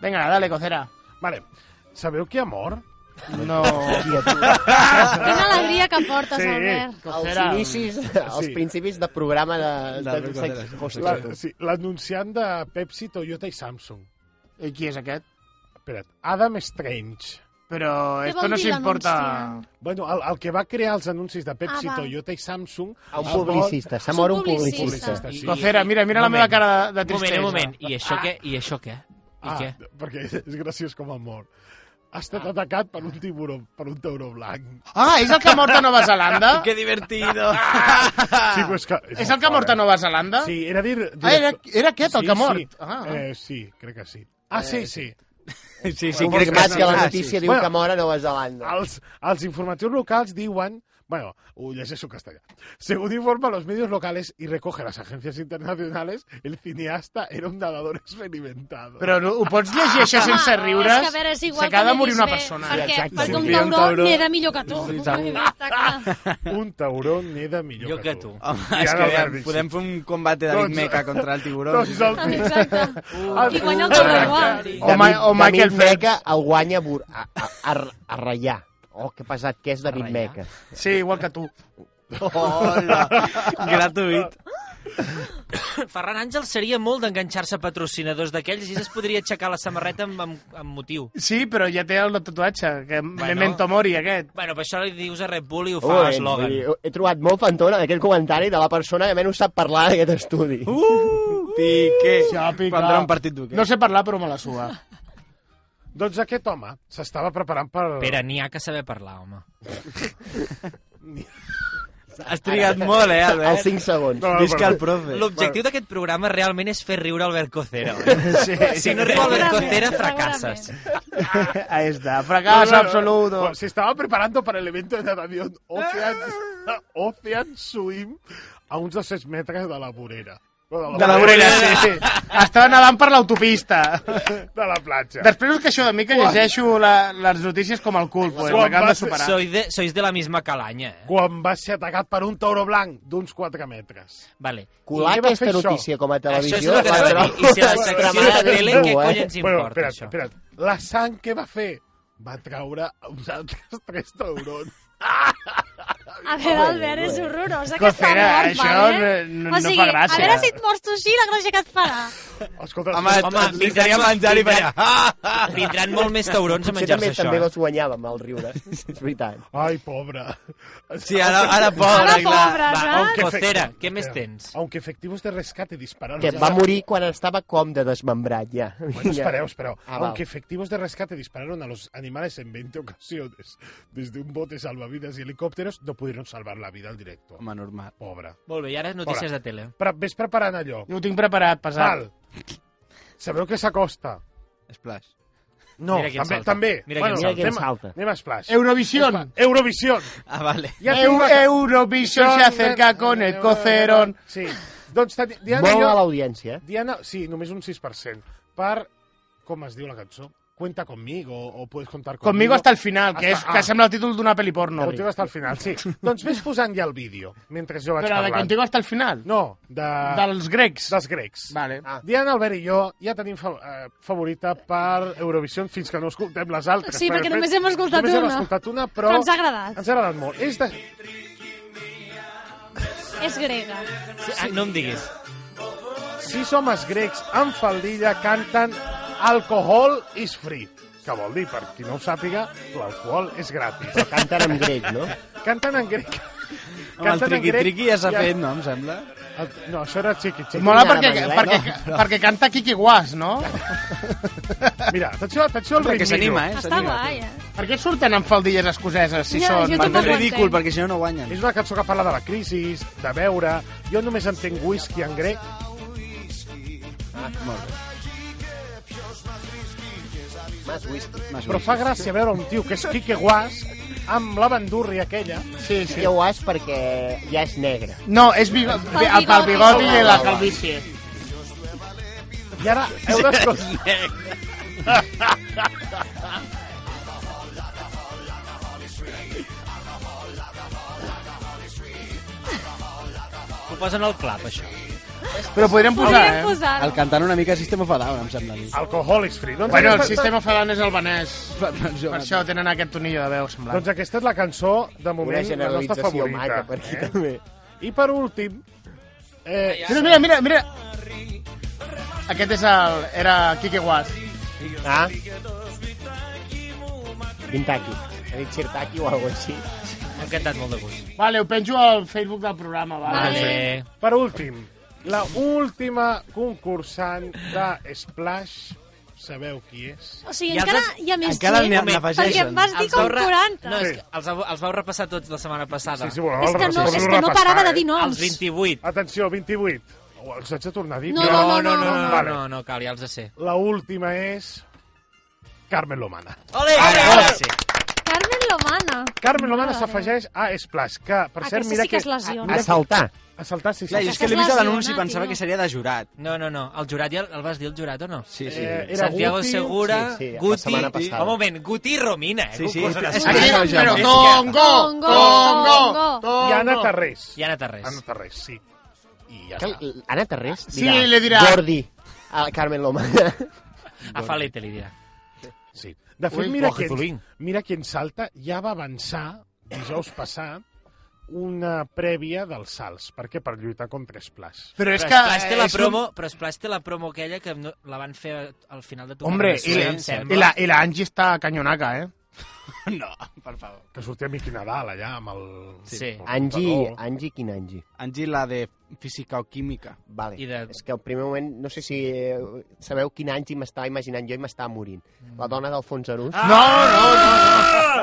S8: Vinga, dale, cocera.
S1: Vale. Sabeu qui ha mort?
S8: No.
S3: Hòstia, tu.
S5: Quina alegria que portes,
S1: Sí.
S5: Albert.
S3: Els
S8: Cocera.
S3: inicis, els principis de programa de... de,
S7: De-
S3: sex-
S7: de-
S3: Hòstia,
S1: La-
S3: tu.
S1: sí, L'anunciant de Pepsi, Toyota i Samsung.
S8: I qui és aquest?
S1: Espera't, Adam Strange.
S8: Però
S5: Què
S8: esto
S5: vol
S8: no
S5: dir
S8: s'importa...
S5: l'anunciant?
S1: Bueno, el, el que va crear els anuncis de Pepsi,
S5: Ah, va.
S1: Toyota i Samsung...
S3: Un
S1: el
S3: publicista, s'ha mort un
S5: publicista.
S3: publicista.
S1: Publicista, sí.
S8: Cocera, mira, mira la meva cara de- de
S6: Moment,
S8: tristesa.
S6: un moment. I això què? I això què? I
S1: Ah,
S6: què?
S1: perquè és graciós com ha mort. Ha estat atacat per un tiburó, per un tauró blanc.
S8: Ah, és el que ha mort a Nova Zelanda?
S7: Que divertido!
S1: Sí, però és, que,
S8: És el que ha mort a Nova Zelanda?
S1: Sí, era dir... dir
S8: Ah, era, era aquest el
S1: Sí,
S8: que ha mort?
S1: Sí.
S8: Ah, Eh,
S1: Eh, sí, crec que sí. Ah, sí, sí.
S7: Sí, sí,
S1: Bueno,
S7: crec que
S3: Confirmat que la
S7: sí.
S3: notícia diu
S1: Bueno.
S3: que mora a Nova Zelanda.
S1: Els, els informatius locals diuen... Bueno, ho llegeixo en castellà. Según informan los medios locales y recoge las agencias internacionales, el cineasta era un nadador experimentado.
S8: Però no, ho pots llegir això sense
S5: Home,
S8: riures?
S5: És que a veure, és igual
S8: S'acaba
S5: que
S8: de morir
S5: diguis
S8: una
S5: bé,
S8: persona.
S5: Perquè,
S3: Exacte.
S5: perquè
S1: Sí,
S5: un
S1: sí, un
S5: tauró
S1: tauró.
S5: neda millor que tu. Està clar.
S1: Un tauró neda millor
S6: Jo
S1: que
S6: que
S1: tu.
S6: tu.
S7: Home,
S1: Ja
S7: és
S1: no
S7: que
S1: ho
S7: ja,
S1: has dit.
S7: podem fer un combate de
S1: Doncs-
S7: Meca contra el tiburó.
S1: Doncs el
S5: Exacte.
S1: Ah,
S5: I guanya el tauró igual.
S8: O, Ma o Michael
S3: David
S8: Phelps.
S3: Meca el guanya a, Bur- a, a, a, a Reià. Oh, que pesat que és David
S6: Reià.
S3: Meca.
S8: Sí, igual que tu.
S7: Hola! Gratuït.
S6: Ferran Àngel seria molt d'enganxar-se a patrocinadors d'aquells i es podria aixecar la samarreta amb, amb, amb motiu.
S8: Sí, però ja té el tatuatge, que bueno. Memento Mori, aquest.
S6: Bueno, per això li dius a Red Bull i ho fa
S3: Ui, Oh, eh, vull
S6: eslògan.
S3: dir, he trobat molt fantona d'aquest comentari de la persona que menys sap parlar d'aquest estudi. Uh,
S7: Piqué.
S8: Ja, pica.
S7: Prendrà un partit d'hoquei.
S8: No sé parlar, però me la sua.
S1: Doncs aquest home s'estava preparant per...
S6: Pere, n'hi ha que saber parlar, home.
S7: Has trigat molt, eh,
S3: Els
S7: Albert?
S3: 5 segons.
S1: No,
S7: Visca
S1: però-
S7: el profe.
S6: L'objectiu d'aquest programa realment és fer riure Albert Cocera. Sí, si no riu Albert Cocera, fracasses.
S8: Ahí está, fracaso absoluto.
S1: Bueno, se estaba preparando para el evento de natación Ocean, Ocean Swim a uns 200 metres de la vorera. Bueno,
S8: De la vorera, sí, sí. Estava nedant per l'autopista.
S1: De la platja.
S8: Després que això de mi que llegeixo la, les notícies com el cul, pues,
S1: Quan
S8: m'acabo
S1: va
S8: de
S1: ser-
S8: superar.
S6: Sois de, sois de la misma calanya, eh?
S1: Quan va ser atacat per un tauro blanc d'uns 4 metres.
S6: Vale.
S3: Colar
S1: I què va fer
S3: aquesta
S1: això?
S3: notícia com a
S6: Això és
S3: televisió...
S6: el que
S3: la
S6: anava a dir. I si la
S3: trobo
S6: secció de la tele,
S3: extremadament
S6: què
S3: dur, eh?
S6: collons importa,
S1: espera't,
S6: això?
S1: espera't. La sang que va fer va traure a uns altres tres taurons.
S5: A veure, Albert, és horrorós aquesta
S8: Cocera,
S5: morfa,
S8: això
S5: eh?
S8: no- no-
S5: o
S8: no
S5: sigui,
S8: fa gràcia.
S5: a veure si et mors tu així, la gràcia que et farà.
S1: Escolta,
S7: Home, home vindran, a menjar i per allà.
S6: Vindran molt més taurons a
S3: Potser
S6: menjar-se
S3: també,
S6: això.
S3: també
S6: eh?
S3: els guanyàvem, el riure. és veritat.
S1: Ay, pobre.
S7: Sí, ara, ara pobre,
S5: Ara
S7: clar.
S5: pobres,
S6: Va,
S5: eh?
S1: Aunque
S6: Costera, Oh,
S1: efect-
S6: què més
S1: Espera.
S6: tens?
S1: Aunque efectivos de rescate dispararon.
S3: Que
S1: Ya
S3: va
S1: saben-
S3: morir quan estava com de desmembrat, ja.
S1: Bueno, espereu, espereu.
S3: Ah, val.
S1: Aunque efectivos de rescate dispararon a los animales en 20 ocasiones desde un bote salvavidas y helicópteros, no pudieron salvar la vida al directo.
S7: Home, normal.
S1: Pobre.
S6: Molt bé, i ara notícies
S1: Hola.
S6: de tele.
S1: Pre ves preparant allò.
S8: Jo ho tinc preparat, passat.
S1: Sal. Sabeu que s'acosta?
S7: Splash.
S1: No,
S6: Mira quién
S1: també.
S6: salta.
S1: també.
S6: Mira
S1: bueno,
S6: quién
S3: Mira
S6: salta.
S3: quién salta.
S1: Anem, anem a Splash.
S8: Eurovisión.
S1: Eurovisión.
S7: Ah, vale.
S1: Ja
S8: Eu-
S1: tinc una-
S8: Eurovisión se acerca con el cocerón.
S1: Sí. Doncs teni- Diana,
S3: Molt
S1: jo-
S3: a l'audiència, eh?
S1: Diana, sí, només un 6%. Per, com es diu la cançó? Cuenta conmigo o puedes contar conmigo.
S8: Conmigo hasta el final, que, és,
S1: Hasta- ah.
S8: que sembla el títol d'una pel·li porno.
S1: Contigo hasta el final, sí. doncs ves posant ja el vídeo, mentre jo vaig
S8: Però de
S1: parlant.
S8: Contigo hasta el final.
S1: No, de...
S8: Dels grecs.
S1: dels grecs.
S8: Vale.
S1: Ah. Diana, Albert i jo ja tenim fa eh, favorita per Eurovisió fins que no escoltem les altres.
S5: Sí, perquè
S1: de fet,
S5: només hem escoltat
S1: només
S5: una.
S1: Hem escoltat una, però...
S5: Però ens ha agradat.
S1: Ens ha agradat molt. És de...
S5: És grega.
S6: Sí, ah, no em diguis.
S1: Sis homes grecs amb faldilla canten Alcohol is free, que vol dir, per qui no ho sàpiga, l'alcohol és gratis.
S3: Canten en grec, no?
S1: Canten en grec.
S7: Amb el
S1: Canten en grec
S7: triqui-triqui ja s'ha
S1: i-
S7: fet, no, em sembla?
S1: El- No, això era xiqui-xiqui.
S8: Mola
S3: Mira,
S8: perquè,
S3: Manuel,
S8: perquè,
S3: no,
S8: perquè canta Kiki Guas, no?
S1: Mira, atenció, atenció al
S7: Home,
S1: ritme.
S7: que s'anima, eh?
S5: Està
S7: s'anima.
S5: guai, eh?
S8: Per què surten amb faldilles escoceses si
S5: Ja,
S8: són...
S5: jo
S7: Per fer
S5: tampoc
S7: el
S5: ho
S7: ridícul,
S5: entenc.
S7: perquè si no, no guanyen.
S1: És una cançó que parla de la crisi, de beure... Jo només entenc whisky en grec.
S3: Mas whisky.
S1: Però fa gràcia veure un tio que és Quique Guas amb la bandurri aquella.
S8: Sí, sí.
S3: Ja ho has perquè ja és negre.
S8: No, és bigo...
S5: Pel
S8: el pel bigoti
S5: bigoti.
S8: i la calvície.
S1: I ara heu d'escoltar...
S6: Ho posen al clap, això.
S8: Però podríem posar,
S5: Podríem
S8: eh?
S5: posar
S7: El cantant una mica sistema fatal, em sembla. a mi.
S1: Alcohol is free. Doncs
S8: Bueno, el
S1: aquesta-
S8: sistema fadan és albanès.
S7: Per, per,
S8: Per això tenen aquest tonillo de veu semblant.
S1: Doncs aquesta és la cançó, de
S3: Una
S1: moment, la nostra
S3: generalització
S1: favorita.
S3: maca per aquí
S1: eh?
S3: també.
S1: I per últim... Eh,
S8: Mira, mira, mira, mira. Aquest és el... Era Quique Guas.
S3: Ah? Vintaki. Ha dit Sirtaki o alguna així.
S6: M'ha encantat molt de gust.
S8: Vale, ho penjo al Facebook del programa, vale?
S5: Vale.
S6: Vale.
S1: per últim, la última concursant de Splash, sabeu qui és?
S5: O sigui,
S6: Ja els
S5: encara
S6: has-
S5: hi ha més
S7: encara n'hi ha-
S5: gent, perquè
S7: n'afegeixen.
S5: em vas dir
S6: Els
S5: com
S6: vau re-
S5: 40.
S6: No, és
S1: Sí.
S6: que els, vau- els vau repassar tots la setmana passada.
S1: Sí, sí, bueno,
S5: és que no,
S1: repassem.
S5: és que no
S1: Repassar,
S5: parava de
S1: eh?
S5: dir noms.
S6: Els 28.
S1: Atenció, 28. Oh, els haig de tornar a dir?
S5: No, no, no,
S6: no, no, no,
S1: Vale.
S6: no, no cal, ja els sé.
S1: La última és... Carmen Lomana.
S6: Ole! Ara sí.
S5: Carmen Lomana.
S1: Carmen Lomana
S5: Mare.
S1: s'afegeix a Splash, que, per cert,
S5: Aquesta
S1: mira
S5: sí Ah, que es lesiona.
S3: A saltar.
S1: A saltar, sí, sí.
S7: Clar, jo
S1: sí.
S7: és que l'he vist a l'anunci i
S5: Lesionat,
S7: pensava
S5: tio.
S7: que seria de jurat.
S6: No, no, no. El jurat, ja el, el vas dir, el jurat, o no?
S7: Sí, sí.
S1: Eh, era
S6: Santiago
S1: Guti.
S6: Segura,
S3: Sí, sí, la
S6: Guti...
S3: setmana passada.
S6: Un moment, Guti i Romina, eh?
S7: Sí, sí.
S6: Cosa de-
S7: És
S8: Aquí,
S7: Sí, no, ja,
S8: però
S7: és que-
S8: Congo,
S5: Congo,
S8: Congo,
S5: Congo.
S1: I
S6: Oh,
S1: Anna
S8: Congo.
S1: Tarrés.
S6: I Anna Tarrés.
S1: Anna Tarrés, sí. I ja
S3: Que
S1: està.
S3: l- Anna Tarrés
S8: Sí, li dirà.
S3: Jordi a Carmen Loma.
S6: A Falete li dirà.
S1: Sí. De fet,
S6: Ui,
S1: mira,
S6: Jorge
S1: qui,
S6: Zulín.
S1: mira qui en salta ja va avançar dijous passat una prèvia dels salts. Per què? Per lluitar contra Splash.
S8: Però és
S6: Però
S8: que...
S6: Splash té la
S8: és un-
S6: promo, però Splash té la promo aquella que no, la van fer al final de tu.
S8: Hombre,
S6: Sí,
S8: i la,
S6: em sembla.
S8: i, la, i la Angie està cañonaca, eh?
S7: No, per favor.
S1: Que sortia Miqui Nadal allà amb el...
S6: Sí.
S1: amb el
S3: Angie,
S1: comptador.
S3: Angie, quin Angie?
S7: Angie, la de física o química.
S3: Vale.
S6: I de-
S3: És que al primer moment, no sé si eh, sabeu quin Angie m'estava imaginant jo i m'estava morint. La dona d'Alfons Arús.
S8: No, no, no.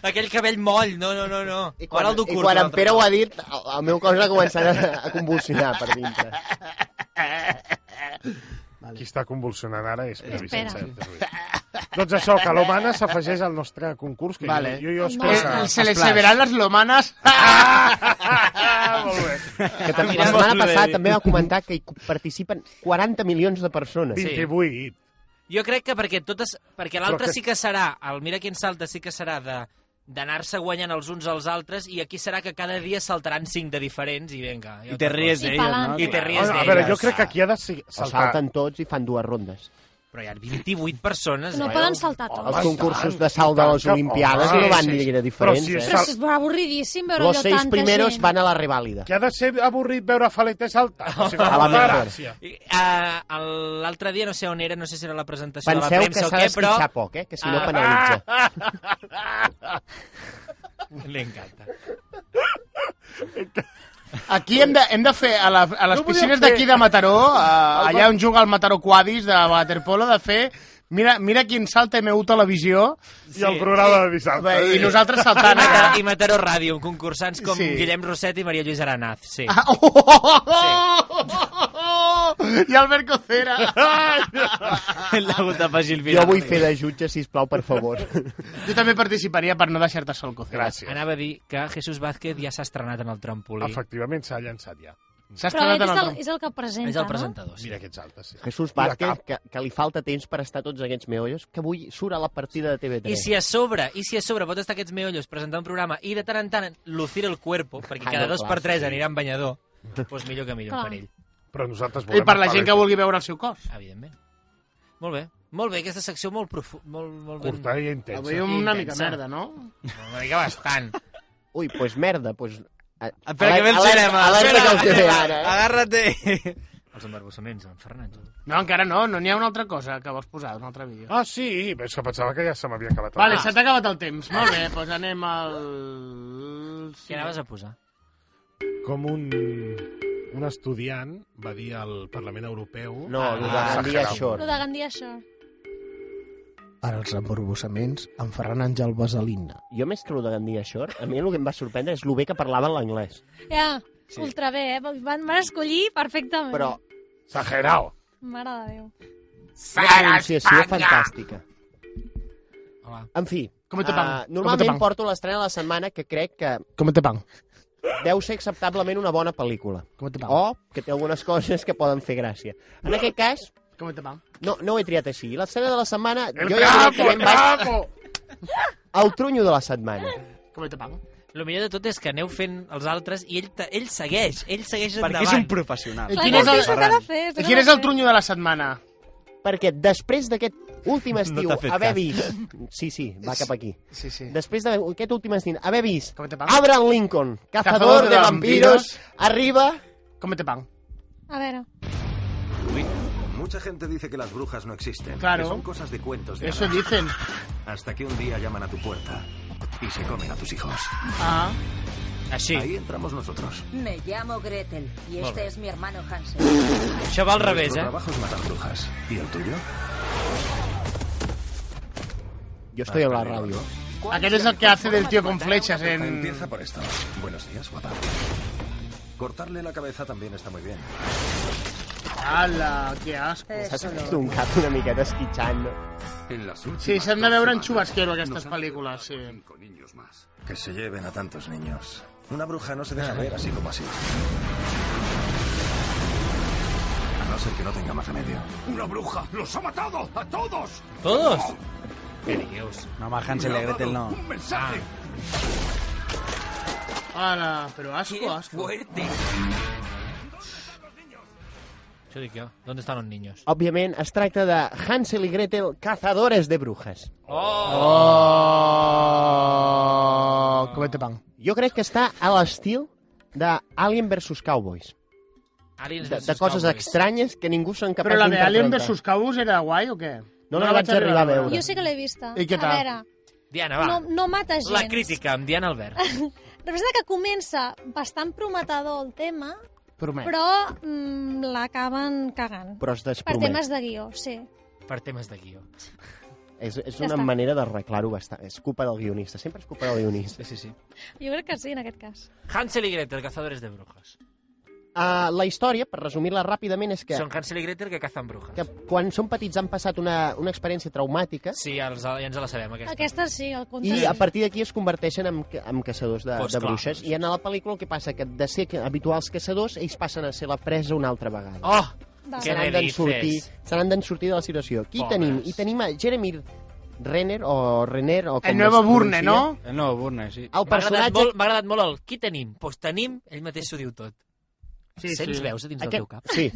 S6: Aquell cabell moll, no, no, no, no.
S3: I quan,
S6: Ara el du
S3: i
S6: curt,
S3: quan en
S6: l'altre.
S3: Pere ho ha dit, el, el meu cos ha començat a, a convulsionar per dintre.
S1: Qui està convulsionant ara és Pere Vicent
S5: Espera.
S1: Sánchez Ruiz. Doncs això, que l'Omana s'afegeix al nostre concurs, que
S8: Vale.
S1: jo, jo, jo espero
S8: Eh,
S1: que...
S8: se les se veran les lomanes.
S1: Ah, molt bé.
S3: Que també,
S6: Mira,
S3: la setmana
S6: molt bé.
S3: passada també va comentar que hi participen 40 milions de persones.
S1: 28.
S6: Jo crec que perquè totes... Perquè
S1: Però
S6: l'altre
S1: que-
S6: sí que serà, el Mira quin salta sí que serà de d'anar-se guanyant els uns als altres i aquí serà que cada dia saltaran cinc de diferents i vinga.
S7: I te ries
S5: I
S7: d'elles, no?
S5: pa'lante.
S6: I te ries
S1: Bueno, Ah, a
S6: d'elles.
S1: veure, jo crec que aquí ha de si-
S3: O
S1: saltar...
S3: salten tots i fan dues rondes.
S6: Però hi ha 28 persones...
S5: No
S6: eh?
S5: poden saltar tots.
S3: Els concursos de salt de les Olimpiades no van ni gaire diferents,
S5: Però
S3: eh?
S5: és avorridíssim veure
S3: Los
S5: allò
S3: seis
S5: tanta
S3: primeros
S5: gent.
S3: van a la revàlida.
S1: Que ha de ser avorrit veure Faleter saltar. O sigui,
S3: A la
S1: fa
S3: merda.
S1: gràcia.
S6: I, eh, el- L'altre dia no sé on era, no sé si era la presentació de la
S3: Penseu que
S6: premsa o
S3: s'ha
S6: què, però...
S3: d'esquitxar poc, eh? Que si no
S6: Ah.
S3: penalitza.
S6: M'encanta.
S8: Aquí hem de, hem de fer, a, la, a les
S1: No podíem
S8: piscines
S1: fer-
S8: d'aquí de Mataró, a,
S1: El
S8: allà
S1: va-
S8: on juga el Mataró Quadis de Waterpolo, de fer... Mira, mira quin salta MU Televisió
S1: I el programa de dissabte. Sí.
S8: i nosaltres
S6: I
S8: saltant.
S6: Mataró,
S8: eh?
S6: I Mataró Ràdio, amb concursants com
S8: Sí.
S6: Guillem Roset i Maria Lluís Aranaz. Sí.
S8: Ah, oh, oh, oh, oh, oh, oh, I Albert Cocera.
S6: L'ha hagut de afegir el
S3: Jo vull fer de jutge, sisplau, per favor.
S8: Jo també participaria per no deixar-te sol, Cocera.
S1: Gràcies.
S6: Anava a dir que Jesús Vázquez ja s'ha estrenat en el trampolí.
S1: Efectivament, s'ha llançat ja.
S8: S'ha
S5: Però
S8: estrenat
S5: aquest
S8: en
S5: és
S8: el
S5: el,
S8: rom.
S5: és el que presenta,
S6: És el
S5: no?
S6: presentador. Sí.
S1: Mira aquests altes.
S8: Ah,
S1: Sí.
S3: Jesús
S1: la
S3: Vázquez,
S1: cap.
S3: que, que li falta temps per estar tots aquests meollos, que avui surt a la partida de TV3.
S6: I si a sobre, i si a sobre pot estar aquests meollos presentant un programa i de tant en tant lucir el cuerpo, perquè
S3: Ah,
S6: cada
S3: no,
S6: dos
S3: clar,
S6: per tres
S3: sí.
S6: anirà en banyador, doncs millor que millor
S5: Clar.
S6: per ell,
S1: Però nosaltres
S8: I
S1: volem...
S8: per la
S1: el
S8: gent que
S1: Faleter
S8: vulgui veure el seu cos.
S6: evidentment. Molt bé. Molt bé, aquesta secció molt profu... Molt, molt ben...
S1: Curta i intensa.
S8: Avui una mica
S6: Intensa.
S8: merda, no?
S6: Una mica bastant.
S3: Ui, doncs pues merda, doncs... Pues...
S7: Espera, que ve el
S3: Alerta-
S7: cinema.
S3: Alerta que
S7: Espera,
S3: el té
S7: espera,
S3: ara, eh?
S7: Agárrate.
S6: Els embarbussaments, en Fernández.
S8: No, encara no, no n'hi ha una altra cosa eh, que vols posar, un altre vídeo.
S1: Ah, sí, és que pensava que ja se m'havia acabat. el
S8: Vale,
S5: Ah.
S1: temps.
S8: se t'ha acabat el temps. Molt bé, doncs anem al...
S6: Què anaves a posar?
S1: Com un, un estudiant va dir al Parlament Europeu...
S3: No, ah, no,
S1: Ah,
S3: Gandhi
S1: exagerau.
S5: Lo
S3: Shore.
S5: de Gandia Shore.
S9: Ara els emborbossaments amb Ferran Àngel Vaselina.
S3: Jo més que el de Gandia Shore, a mi el que em va sorprendre és el bé que parlava l'anglès.
S5: Ja, sí. ultra bé, eh? Van, van escollir perfectament.
S3: Però
S1: Exagerau.
S5: Mare de Déu.
S3: una pronunciació fantàstica.
S6: Hola.
S3: En fi,
S8: Com te pan?
S3: eh, normalment porto l'estrena de la setmana que crec que
S8: Com te pan?
S3: deu ser acceptablement una bona pel·lícula.
S8: Com te pan?
S3: O que té algunes coses que poden fer gràcia. En aquest cas,
S8: Com te pan?
S3: no, no ho he triat així. L'escena de la setmana,
S1: El
S3: jo ja
S1: capo, el
S3: directament vaig
S1: capo!
S3: al trunyo de la setmana.
S8: Com te pan?
S6: Lo millor de tot és que aneu fent els altres i ell, ta- ell segueix, ell segueix
S7: Perquè és
S6: endavant.
S7: un professional.
S8: I
S5: Clar,
S8: quin
S5: no
S8: és el-
S5: sé, s'ho que ha de fer, s'ho
S8: I
S5: que
S8: quin
S5: ha
S8: és
S5: de
S8: el
S5: fer.
S8: trunyo de la setmana?
S3: Perquè després d'aquest últim estiu
S7: t'ha fet
S3: haver
S7: cas.
S3: vist... Sí, sí, va cap aquí.
S8: Sí, sí.
S3: Després d'aquest últim estiu haver vist
S8: Com te pan?
S3: Abraham Lincoln, cazador,
S8: Cazador de
S3: de, vampiros,
S8: vampiros.
S3: arriba...
S8: Com te pan?
S5: A veure,
S10: Mucha gente dice que las brujas no existen.
S8: Claro.
S10: Que son cosas de cuentos de
S8: Eso
S10: hadas.
S8: dicen.
S10: Hasta que un día llaman a tu puerta y se comen a tus hijos.
S8: Ah.
S6: Així.
S10: Ahí entramos nosotros.
S4: Pues
S11: Me llamo Gretel y
S6: Molt
S11: este
S6: bé.
S11: es mi hermano Hansel.
S6: Això va al revés,
S10: Nuestro
S6: eh?
S10: trabajo es matar brujas. ¿Y el tuyo?
S3: Jo estoy a la ràdio.
S8: Aquel es el que hace del tío con flechas en...
S10: Empieza por esto. Buenos días, guapa. Cortarle la cabeza también está muy bien.
S8: ¡Hala! ¡Qué asco!
S3: S'ha sortit un cap una miqueta esquitxant. no?
S10: En las
S8: Sí,
S10: últimas
S8: s'han de
S10: dos
S8: veure en
S10: semanas
S8: xubasquero aquestes
S10: nos han
S8: pel·lícules, sí.
S10: reportado cinco niños más. Que se lleven a tantos niños. Una bruja no se deja ver así como así. A no ser que no tenga más remedio. ¡Una bruja! ¡Los ha matado! ¡A todos!
S6: Todos? Què dius?
S7: No, más Hansel y Gretel no.
S10: mensaje!
S8: ¡Hala! Pero asco, asco.
S6: Això dic jo. ¿Dónde están los niños?
S3: Òbviament, es tracta de Hansel i Gretel, cazadores de brujas.
S8: ¡Oh! Comete pan.
S3: Jo crec que està a l'estil de Alien vs. Cowboys.
S6: Aliens
S3: De,
S6: versus
S3: de coses
S6: Cowboys.
S3: estranyes que ningú són
S8: Però
S3: capaços
S8: la de Alien
S3: d'interpretar.
S8: vs. Cabus era guai o què?
S3: No la vaig arribar a veure.
S5: jo sí que l'he vista.
S8: I què
S5: A
S8: tal?
S5: veure,
S6: Diana, va.
S5: no, no mata gens.
S6: La crítica amb Diana Albert.
S5: Representa que comença bastant prometedor el tema,
S8: Promet.
S5: però mm, l'acaben cagant.
S3: Però es
S5: Per
S3: despromet.
S5: temes de guió, sí.
S6: Per temes de guió.
S3: És, és
S5: Ja
S3: una
S5: està.
S3: manera d'arreglar-ho bastant. És culpa del guionista. Sempre és culpa del guionista.
S6: sí, sí.
S5: Jo crec que sí, en aquest cas.
S6: Hansel y Gretel, cazadores de brujas.
S3: Uh, la història, per resumir-la ràpidament, és que,
S6: Són Hansel i Gretel que cazan brujas.
S3: que quan són petits han passat una, una experiència traumàtica
S6: Sí, ja, els, ja ens la sabem, aquesta.
S5: Aquesta sí, el conte.
S3: i
S5: sí.
S3: a partir d'aquí es converteixen en, ca- en caçadors de,
S6: Pues
S3: de
S6: clar.
S3: bruixes. I en la pel·lícula el que passa que de ser que- habituals caçadors ells passen a ser la presa una altra vegada.
S6: Oh!
S5: Vale.
S6: Què
S3: se n'han
S6: me
S3: d'en
S6: dices?
S3: sortir, se n'han d'en sortir de la situació. Qui
S6: Pobres.
S3: tenim? I tenim a Jeremy Renner o Renner o com
S8: El nuevo
S3: es
S8: Burne,
S3: pronuncia.
S8: ¿no?
S7: El nuevo Burne, sí.
S3: El
S6: M'ha agradat,
S3: personatge
S6: molt, m'ha agradat molt el qui tenim. Doncs pues tenim, ell mateix s'ho diu tot.
S8: Sí,
S6: Sents
S8: sí.
S6: veus a dins
S8: Aquest-
S6: del teu cap?
S3: Sí,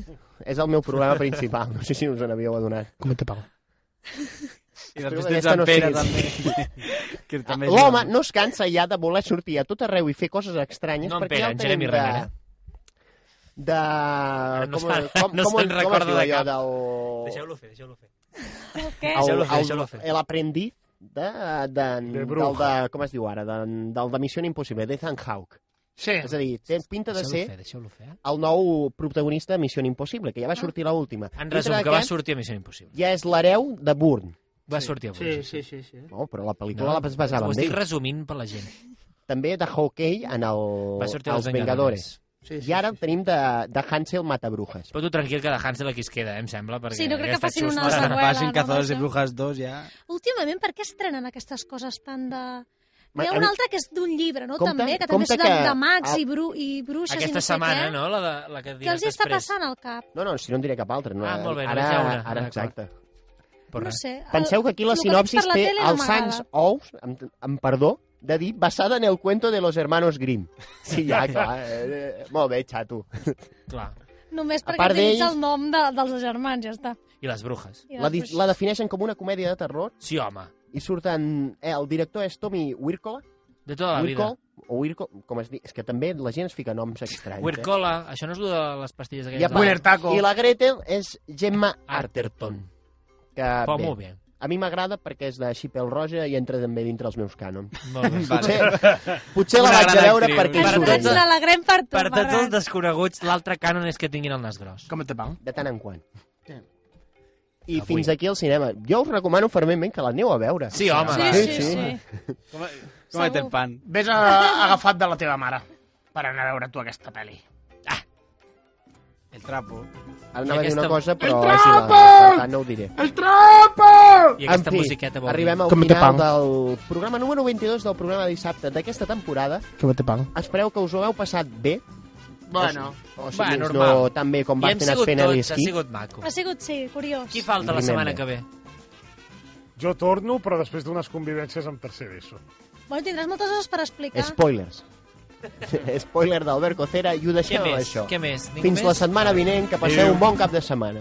S3: és el meu problema principal. No sé si us en havíeu adonat.
S9: Com te pago?
S7: I
S3: Espero
S7: després
S3: que
S7: tens
S3: aquesta
S7: en
S3: no
S7: Pere,
S3: sigui.
S7: també. que també és
S3: L'home
S7: una-
S3: no es cansa ja de voler sortir a tot arreu i fer coses estranyes
S6: No en
S3: perquè
S6: Pere,
S3: ja el
S6: en
S3: tenim
S6: Jeremy
S3: de...
S6: Renner, eh?
S3: de...
S6: no
S3: com,
S6: se'n-
S3: com,
S6: no
S3: com,
S6: se'n
S3: com
S6: recorda
S3: es diu allò
S6: de cap.
S3: del...
S6: Deixeu-lo fer, deixeu-lo fer.
S5: Què?
S3: El,
S6: Deixeu-lo fer,
S3: el,
S6: deixeu-lo fer.
S3: el aprendiz de, de,
S6: De
S3: del
S6: bruja.
S3: de, com es diu ara, de, del de Missió Impossible, d'Ethan Hawke.
S8: Sí.
S3: És a dir, té pinta de ser
S6: Deixeu-lo fer, deixeu-lo fer.
S3: el nou protagonista de Missió Impossible, que ja va sortir la última.
S6: Ah. En
S3: Dintre
S6: resum, que va
S3: d'aquest,
S6: sortir a Missió Impossible.
S3: Ja és l'hereu de Bourne.
S6: Va sortir a
S8: Sí, sí, sí, sí.
S3: No, però la pel·lícula la basava
S6: Ho
S3: en
S6: estic
S3: ell.
S6: resumint per la gent.
S3: També de Hawkeye en el,
S6: Va sortir
S3: els
S6: als
S3: Vengadores.
S6: Vengadores.
S8: Sí, sí,
S3: I ara el tenim de, de Hansel Matabrujas.
S6: Però tu tranquil que la Hansel aquí es queda, eh, em sembla. Perquè
S5: Sí, no crec que
S6: aquesta
S5: facin
S6: xusta-
S5: una
S7: Quan
S5: seqüela,
S7: Facin
S5: no,
S7: Cazadores de
S5: Marta?
S7: Brujas 2 ja...
S5: Últimament, per què estrenen aquestes coses tan de...
S3: Ma-
S5: Hi ha
S3: a mi-
S5: un altre que és d'un llibre, no?
S3: Compte-
S5: també, que també
S3: compte
S5: és de,
S3: que-
S5: de mags
S3: al-
S5: i, bru i bruixes i
S6: Aquesta
S5: no sé
S6: setmana,
S5: què.
S6: no? La, de, la que diràs
S5: Què els hi està
S6: després.
S5: passant al cap?
S3: No, no, si no en diré cap altre. No, eh,
S6: Ah, molt bé,
S3: ara,
S6: doncs ja ho veurà.
S3: ara,
S6: D'acord.
S3: exacte.
S6: Però
S5: No
S6: res.
S5: sé. el-
S3: Penseu que aquí la
S5: el que veig
S3: sinopsis
S5: per la
S3: té
S5: tele no
S3: els
S5: m'agrada.
S3: sants ous, amb, amb perdó, de dir basada en el cuento de los hermanos Grimm. Sí, ja, clar. Eh, eh, molt bé, xato.
S6: Clar.
S5: Només perquè
S3: part
S5: utilitza
S3: d'ells-
S5: el nom de, dels germans, ja està.
S6: I les brujes.
S5: I
S3: La, di-
S5: després-
S3: la defineixen com una comèdia de terror
S6: Sí, home.
S3: i surten... Eh, el director és Tommy Wirkola.
S6: De tota la vida.
S3: Wirkola, o Wirko, com es diu? És que també la gent es fica noms estranys.
S6: Huircola. Això no és el de les pastilles
S3: Eh? I, a
S6: aquelles.
S3: part-
S8: Willer Taco.
S3: I la Gretel és Gemma Arterton.
S6: Arterton.
S3: Que,
S6: Però
S3: bé,
S6: molt bé.
S3: a mi m'agrada perquè és de Xipel Roja i entra també dintre els meus cànons.
S6: Molt bé.
S7: Vale.
S3: Potser, potser la
S7: Una
S3: vaig a
S7: gran
S3: veure
S7: actriu.
S3: perquè
S5: Per
S3: surt
S5: tots
S3: de,
S5: l'alegrem per tot.
S6: Per tots els
S5: Ferran.
S6: desconeguts, l'altre cànon és que tinguin el nas gros.
S8: Com te pago?
S3: de tant en quant.
S8: Sí.
S3: I
S6: Avui.
S3: fins aquí el cinema. Jo us recomano fermament que l'aneu a veure.
S6: Sí, home.
S5: Sí,
S6: va.
S5: sí, sí.
S7: Com, com et pan?
S8: Ves a, agafat de la teva mare per anar a veure tu aquesta pel·li.
S7: El trapo.
S3: Ara anava a dir
S6: aquesta-
S3: una cosa, però
S8: El
S3: és igual.
S8: trapo!
S3: Per tant, no ho diré.
S8: ¡El trapo!
S6: I aquesta
S3: en fi,
S6: musiqueta vol
S3: arribem al
S9: Com te
S3: final
S9: pago?
S3: del programa número 22 del programa de dissabte d'aquesta temporada.
S9: Com te pago?
S3: Espereu que us ho heu passat bé.
S8: Bueno,
S3: O si
S6: Va,
S3: menys
S6: normal.
S3: no tan bé com
S6: I
S3: van
S6: hem
S3: fer
S6: sigut
S3: Esfena i
S6: tots, ha
S3: Esquí.
S6: sigut maco.
S5: Ha sigut, sí, curiós.
S6: Qui falta la
S3: Remember.
S6: setmana que ve?
S1: Jo torno, però després d'unes convivències amb tercer d'ESO.
S5: Bueno, tindràs moltes coses per
S6: eh?
S5: explicar.
S3: Spoilers. Spoiler d'Albert Cocera i ho
S6: Què
S3: deixem amb
S6: més?
S3: això.
S6: Què més? Ningú
S3: Fins la
S6: més?
S3: setmana vinent, que passeu un bon cap de setmana.